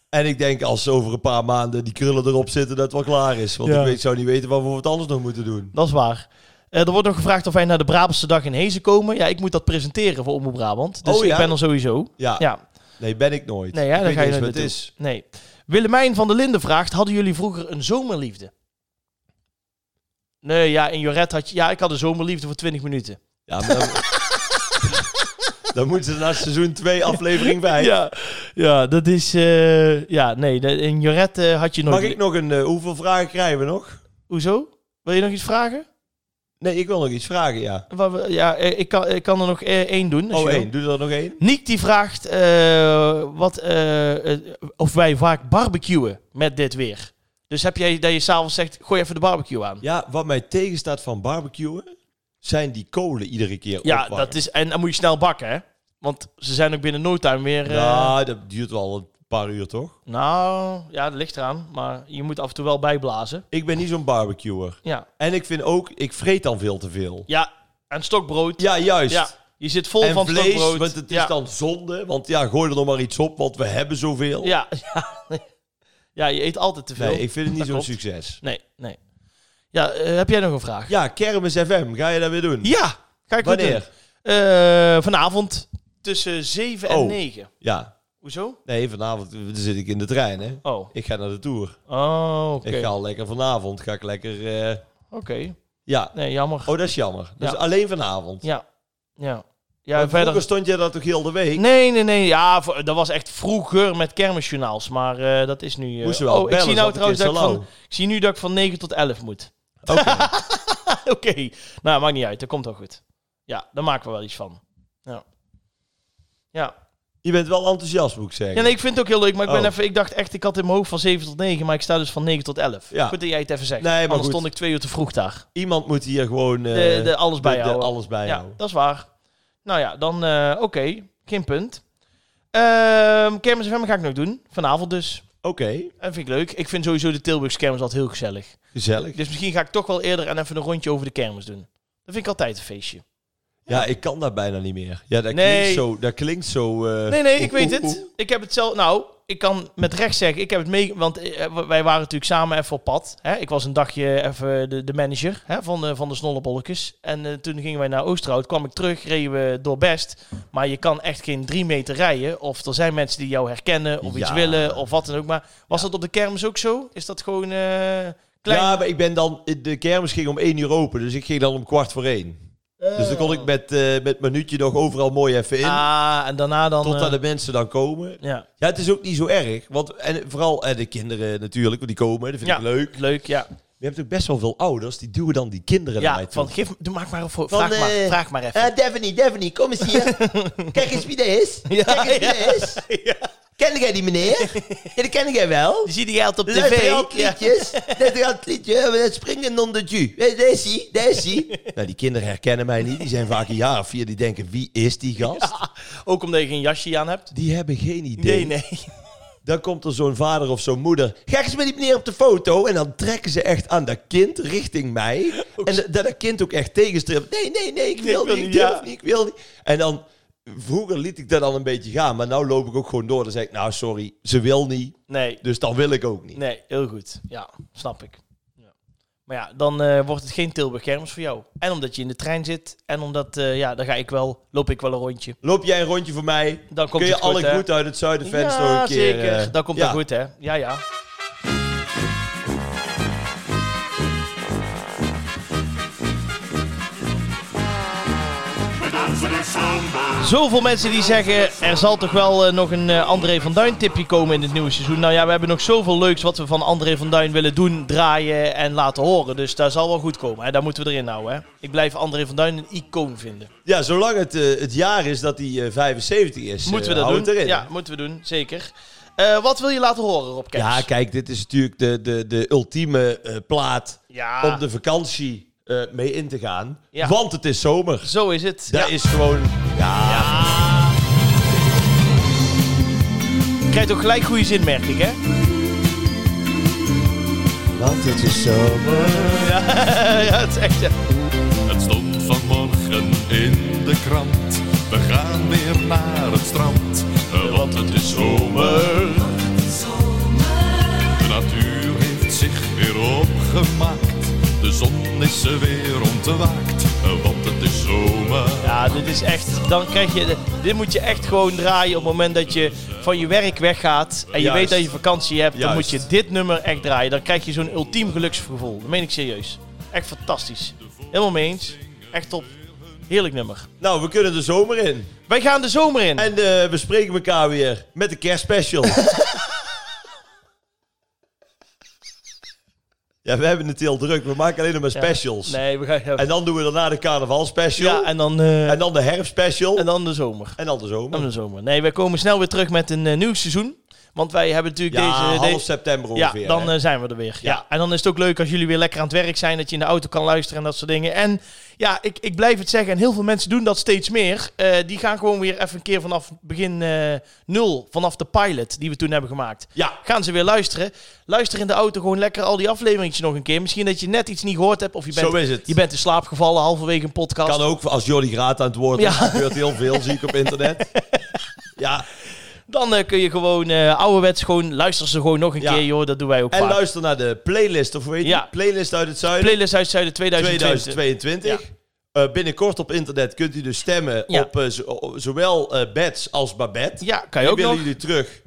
B: En ik denk als over een paar maanden die krullen erop zitten, dat het wel klaar is. Want
A: Ja.
B: ik weet, zou niet weten wat we wat anders nog moeten doen.
A: Dat is waar. Eh, er wordt nog gevraagd of wij naar de Brabantse dag in Hezen komen. Ja, ik moet dat presenteren voor Omroep Brabant. Dus
B: Oh, ja?
A: ik ben er sowieso.
B: Ja.
A: Ja,
B: Nee, ben ik nooit.
A: nee, ja
B: Ik
A: dan
B: weet
A: ga je
B: niet
A: nooit
B: eens wat het
A: naartoe.
B: is.
A: Nee. Willemijn van der Linden vraagt, hadden jullie vroeger een zomerliefde? Nee, ja, in Joret had je... Ja, ik had een zomerliefde voor 20 minuten.
B: Ja, maar dan, dan moeten ze naar seizoen 2 aflevering 5.
A: Ja, ja dat is... eh, ja, nee, de- in Joret eh, had je nooit...
B: Mag ik nog een... eh, hoeveel vragen krijgen we nog?
A: Hoezo? Wil je nog iets vragen?
B: Nee, ik wil nog iets vragen, ja.
A: Wat we- Ja, eh, ik kan, ik kan er nog eh, één doen. als
B: Oh,
A: je wil.
B: één. Doe er nog één.
A: Niek die vraagt eh, wat, eh, eh, of wij vaak barbecuen met dit weer. Dus heb jij dat je s'avonds zegt, gooi even de barbecue aan. Ja,
B: Ja, wat mij tegenstaat van barbecuen, zijn die kolen iedere keer opwarmen.
A: dat is, en dan moet je snel bakken, hè? Want ze zijn ook binnen no time weer... eh,
B: Nou, dat duurt wel een paar uur, toch?
A: Nou, ja, dat ligt eraan. Maar je moet af en toe wel bijblazen.
B: Ik ben niet zo'n barbecuer.
A: Ja,
B: En ik vind ook, ik vreet dan veel te veel.
A: ja en stokbrood.
B: Ja, juist.
A: Ja, je zit vol
B: En
A: van
B: vlees,
A: stokbrood.
B: want het is
A: ja.
B: dan zonde. Want ja, gooi er nog maar iets op, want we hebben zoveel.
A: Ja, ja, ja, je eet altijd te veel.
B: Nee, ik vind het niet
A: Dat
B: zo'n
A: klopt.
B: succes.
A: Nee, nee. Ja, eh, heb jij nog een vraag?
B: Ja, Kermis FM, ga je dat weer doen?
A: Ja, ga ik weer doen.
B: Wanneer?
A: Eh, vanavond tussen 7 en
B: Oh.
A: 9.
B: Ja.
A: Hoezo?
B: Nee, vanavond eh, zit ik in de trein, hè.
A: Oh,
B: Ik ga naar de Tour.
A: oh oké.
B: Ik ga al lekker vanavond, ga ik lekker... eh,
A: Oké,
B: ja.
A: nee, jammer.
B: Oh, dat is jammer. Dus
A: Ja.
B: alleen vanavond.
A: Ja, ja.
B: Maar
A: Ja, verder...
B: Vroeger stond je daar toch heel de week?
A: Nee, nee, nee. Ja, v- dat was echt vroeger met kermisjournaals. Maar eh, dat is nu... eh,
B: Moest je wel
A: oh, ik
B: bellen,
A: zie
B: zat
A: nou
B: ik
A: trouwens
B: in
A: dat ik van,
B: Salau.
A: ik zie nu dat ik van 9 tot 11 moet.
B: Oké.
A: Oké, nou, maakt niet uit. Dat komt wel goed. Ja, daar maken we wel iets van. Ja. Ja.
B: Je bent wel enthousiast, moet ik zeggen.
A: Ja, nee, ik vind het ook heel leuk, maar ik, ben
B: Oh.
A: even, ik dacht echt, ik had in mijn hoofd van 7 tot 9, maar ik sta dus van 9 tot 11.
B: Ja.
A: Goed dat jij het even zegt.
B: Nee, maar
A: Anders
B: goed.
A: stond ik twee uur te vroeg daar.
B: Iemand moet hier gewoon... eh,
A: De, de, alles bij jou.
B: alles bij
A: ja,
B: jou.
A: dat is waar. Nou ja, dan eh, oké, geen punt. Ehm kermis FM ga ik nog doen, vanavond dus.
B: Oké,
A: En vind ik leuk. Ik vind sowieso de Tilburgse kermis altijd heel gezellig.
B: gezellig.
A: Dus misschien ga ik toch wel eerder en even een rondje over de kermis doen. Dat vind ik altijd een feestje.
B: Ja, ik kan daar bijna niet meer. Ja, dat
A: Nee.
B: klinkt zo... Dat klinkt zo eh,
A: Nee, nee, ik
B: oeh,
A: weet
B: oeh, oeh.
A: het. Ik heb het zelf. Nou, ik kan met recht zeggen, ik heb het mee. Want eh, w- wij waren natuurlijk samen even op pad. Hè? Ik was een dagje even de, de manager hè? van de, van de snollebolletjes. En eh, toen gingen wij naar Oosterhout. Kwam ik terug, reden we door Best. Maar je kan echt geen drie meter rijden. Of er zijn mensen die jou herkennen, of iets
B: Ja.
A: willen, of wat dan ook. Maar was dat op de kermis ook zo? Is dat gewoon eh, klein?
B: Ja, maar ik ben dan... De kermis ging om één uur open, dus ik ging dan om kwart voor één. Dus dan kon ik met, eh met minuutje nog overal mooi even in.
A: Oh. Ah, en daarna dan.
B: totdat
A: eh,
B: de mensen dan komen.
A: ja,
B: Ja, het is ook niet zo erg. Want, en vooral eh, de kinderen natuurlijk, want die komen. Dat vind
A: Ja.
B: ik leuk. Maar
A: leuk, ja.
B: je hebt ook best wel veel ouders, die duwen dan die kinderen naar
A: Ja,
B: mij toe.
A: van geef, doe- maak maar een fo- vraag,
B: eh,
A: maar, vraag maar even.
B: Daphne, Daphne, kom eens hier. Kijk eens wie dat is.
A: Ja, ja.
B: is. Ken jij die meneer? Ja, dat ken jij wel.
A: Je ziet die geld op
B: Luister
A: tv.
B: al het
A: Ja.
B: liedjes. Luister al het liedje. We springen onder ju. Eh, Daar is hij, daar is hij. Nou, die kinderen herkennen mij niet. Die zijn vaak een jaar of vier. Die denken, wie is die gast?
A: Ook omdat je geen jasje aan hebt.
B: Die hebben geen idee.
A: Nee, nee.
B: Dan komt er zo'n vader of zo'n moeder. Ga eens met die meneer op de foto. En dan trekken ze echt aan dat kind richting mij. En dat- dat dat kind ook echt tegenstript. Nee, nee, nee, ik wil,
A: ik wil
B: niet.
A: niet,
B: Ik
A: ja.
B: durf niet, ik wil niet. En dan, vroeger liet ik dat al een beetje gaan. Maar nu loop ik ook gewoon door. Dan zeg ik, nou sorry, ze wil niet.
A: Nee,
B: Dus dan wil ik ook niet.
A: nee heel goed. Ja, snap ik. Ja. Maar ja, dan eh, wordt het geen Tilburg Kermis voor jou. En omdat je in de trein zit. En omdat, eh, ja, dan ga ik wel, loop ik wel een rondje.
B: Loop jij een rondje voor mij.
A: Dan komt
B: Kun je
A: het
B: alle
A: goed, hè?
B: goed uit het zuiden fans nog een keer...
A: zeker.
B: eh,
A: dat komt
B: ja.
A: wel goed, hè. Ja, ja. Zoveel mensen die zeggen, er zal toch wel eh, nog een eh, André van Duin tipje komen in het nieuwe seizoen. Nou ja, we hebben nog zoveel leuks wat we van André van Duin willen doen, draaien en laten horen. Dus daar zal wel goed komen. Hè? Daar moeten we erin houden. Hè? Ik blijf André van Duin een icoon vinden.
B: Ja, zolang het eh, het jaar is dat hij eh, 75 is.
A: Moeten
B: eh,
A: we dat
B: hou
A: doen?
B: het erin.
A: Ja, moeten we doen, zeker. Eh, wat wil je laten horen, Rob Kemps?
B: Ja, kijk, dit is natuurlijk de, de, de ultieme eh, plaat
A: Ja.
B: om de vakantie eh, mee in te gaan.
A: Ja.
B: Want het is zomer.
A: Zo is het.
B: Dat
A: Ja.
B: is gewoon... Ja,
A: Je krijgt ook gelijk goede zin, merk ik, hè?
B: want het is zomer.
A: ja, het is echt... ja.
C: Het stond vanmorgen in de krant. We gaan weer naar het strand, eh, want het is zomer. eh, zomaar.
A: Ja, dit is echt. Dan krijg je. de- Dit moet je echt gewoon draaien op het moment dat je van je werk weggaat. En je
B: Juist.
A: weet dat je vakantie hebt. Dan moet
B: Juist.
A: je dit nummer echt draaien. Dan krijg je zo'n ultiem geluksgevoel. Dat meen ik serieus. Echt fantastisch. Helemaal mee eens. Echt top. Heerlijk nummer.
B: Nou, we kunnen de zomer in.
A: Wij gaan de zomer in.
B: En eh, we spreken elkaar weer met de kerstspecial. ja, we hebben het heel druk. We maken alleen nog maar
A: Ja.
B: specials.
A: Nee, we gaan.
B: En dan doen we daarna de carnavalspecial.
A: ja,
B: en,
A: en dan, eh,
B: dan de herfstspecial.
A: en
B: En,
A: dan de zomer.
B: dan de zomer.
A: Dan de zomer. Nee, wij komen snel weer terug met een eh, nieuw seizoen. Want wij hebben natuurlijk
B: ja,
A: deze.
B: half
A: deze-
B: september
A: Ja,
B: ongeveer.
A: dan
B: hè?
A: eh, zijn we er weer. Ja.
B: Ja.
A: En dan is het ook leuk als jullie weer lekker aan het werk zijn. Dat je in de auto kan luisteren en dat soort dingen. En ja, ik, ik blijf het zeggen. En heel veel mensen doen dat steeds meer. Eh, die gaan gewoon weer even een keer vanaf begin eh, nul. Vanaf de pilot die we toen hebben gemaakt.
B: ja.
A: Gaan ze weer luisteren. Luister in de auto gewoon lekker al die afleveringetjes nog een keer. Misschien dat je net iets niet gehoord hebt. Of je bent,
B: Zo is het.
A: Je bent in slaap gevallen halverwege een podcast.
B: Kan ook als Jordi Graat aan het woord is.
A: Ja.
B: Dat gebeurt heel veel, zie ik op internet. Ja,
A: Dan eh, kun je gewoon eh ouderwets gewoon luisteren ze gewoon nog een
B: Ja.
A: keer. Joh, dat doen wij ook
B: en
A: vaak.
B: luister naar de playlist. Of weet je,
A: Ja.
B: playlist uit het zuiden.
A: Playlist uit Zuiden 2020.
B: 2022.
A: Ja.
B: Eh, binnenkort op internet kunt u dus stemmen
A: Ja.
B: op eh, zo- zowel eh Bets als Babette.
A: Ja, kan je ook
B: Die willen
A: nog.
B: jullie terug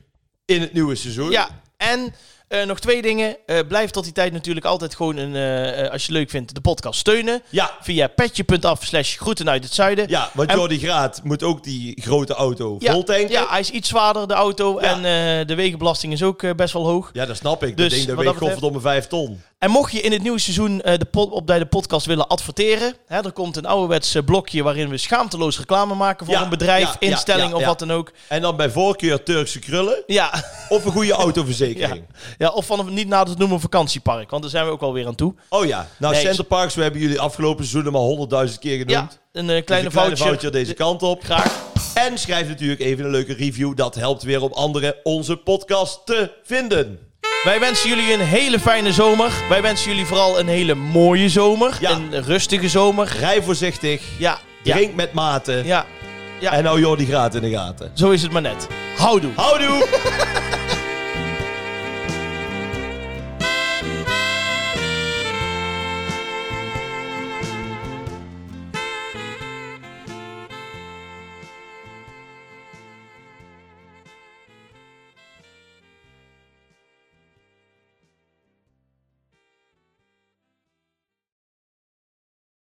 B: in het nieuwe seizoen.
A: Ja, en eh, nog twee dingen. Eh, blijf tot die tijd natuurlijk altijd gewoon, een, eh, eh, als je leuk vindt, de podcast steunen.
B: ja.
A: Via petje.af slash groeten uit het zuiden.
B: Ja, want
A: En-
B: Jordi Graat moet ook die grote auto
A: Ja,
B: vol tanken.
A: ja,
B: Ja.
A: hij is iets zwaarder, de auto.
B: Ja.
A: En eh, de wegenbelasting is ook eh, best wel hoog.
B: dat snap ik.
A: Dus,
B: dat ding
A: wat
B: dat weegt
A: dat betreft-
B: godverdomme vijf ton.
A: En mocht je in het nieuwe seizoen eh, de pod, op bij de podcast willen adverteren. Hè, er komt een ouderwets eh, blokje waarin we schaamteloos reclame maken voor
B: Ja,
A: een bedrijf,
B: ja, ja,
A: instelling
B: ja,
A: of
B: ja.
A: wat dan ook.
B: En dan bij voorkeur Turkse krullen
A: Ja,
B: of een goede
A: ja.
B: autoverzekering.
A: ja of van een niet na te noemen vakantiepark. Want daar zijn we ook alweer aan toe.
B: Oh ja, nou
A: Nee,
B: Center Parks, we hebben jullie afgelopen seizoen al honderdduizend keer genoemd.
A: Ja, een
B: Dus
A: eh, kleine,
B: een kleine
A: voucher.
B: foutje deze kant op.
A: Graag.
B: En schrijf natuurlijk even een leuke review. Dat helpt weer om anderen onze podcast te vinden.
A: Wij wensen jullie een hele fijne zomer. Wij wensen jullie vooral een hele mooie zomer.
B: Ja.
A: Een rustige zomer.
B: Rij voorzichtig.
A: Ja, ja,
B: Drink met mate.
A: ja. ja.
B: En hou Jordi Graat in de gaten.
A: Zo is het maar net. Houdoe.
B: Houdoe!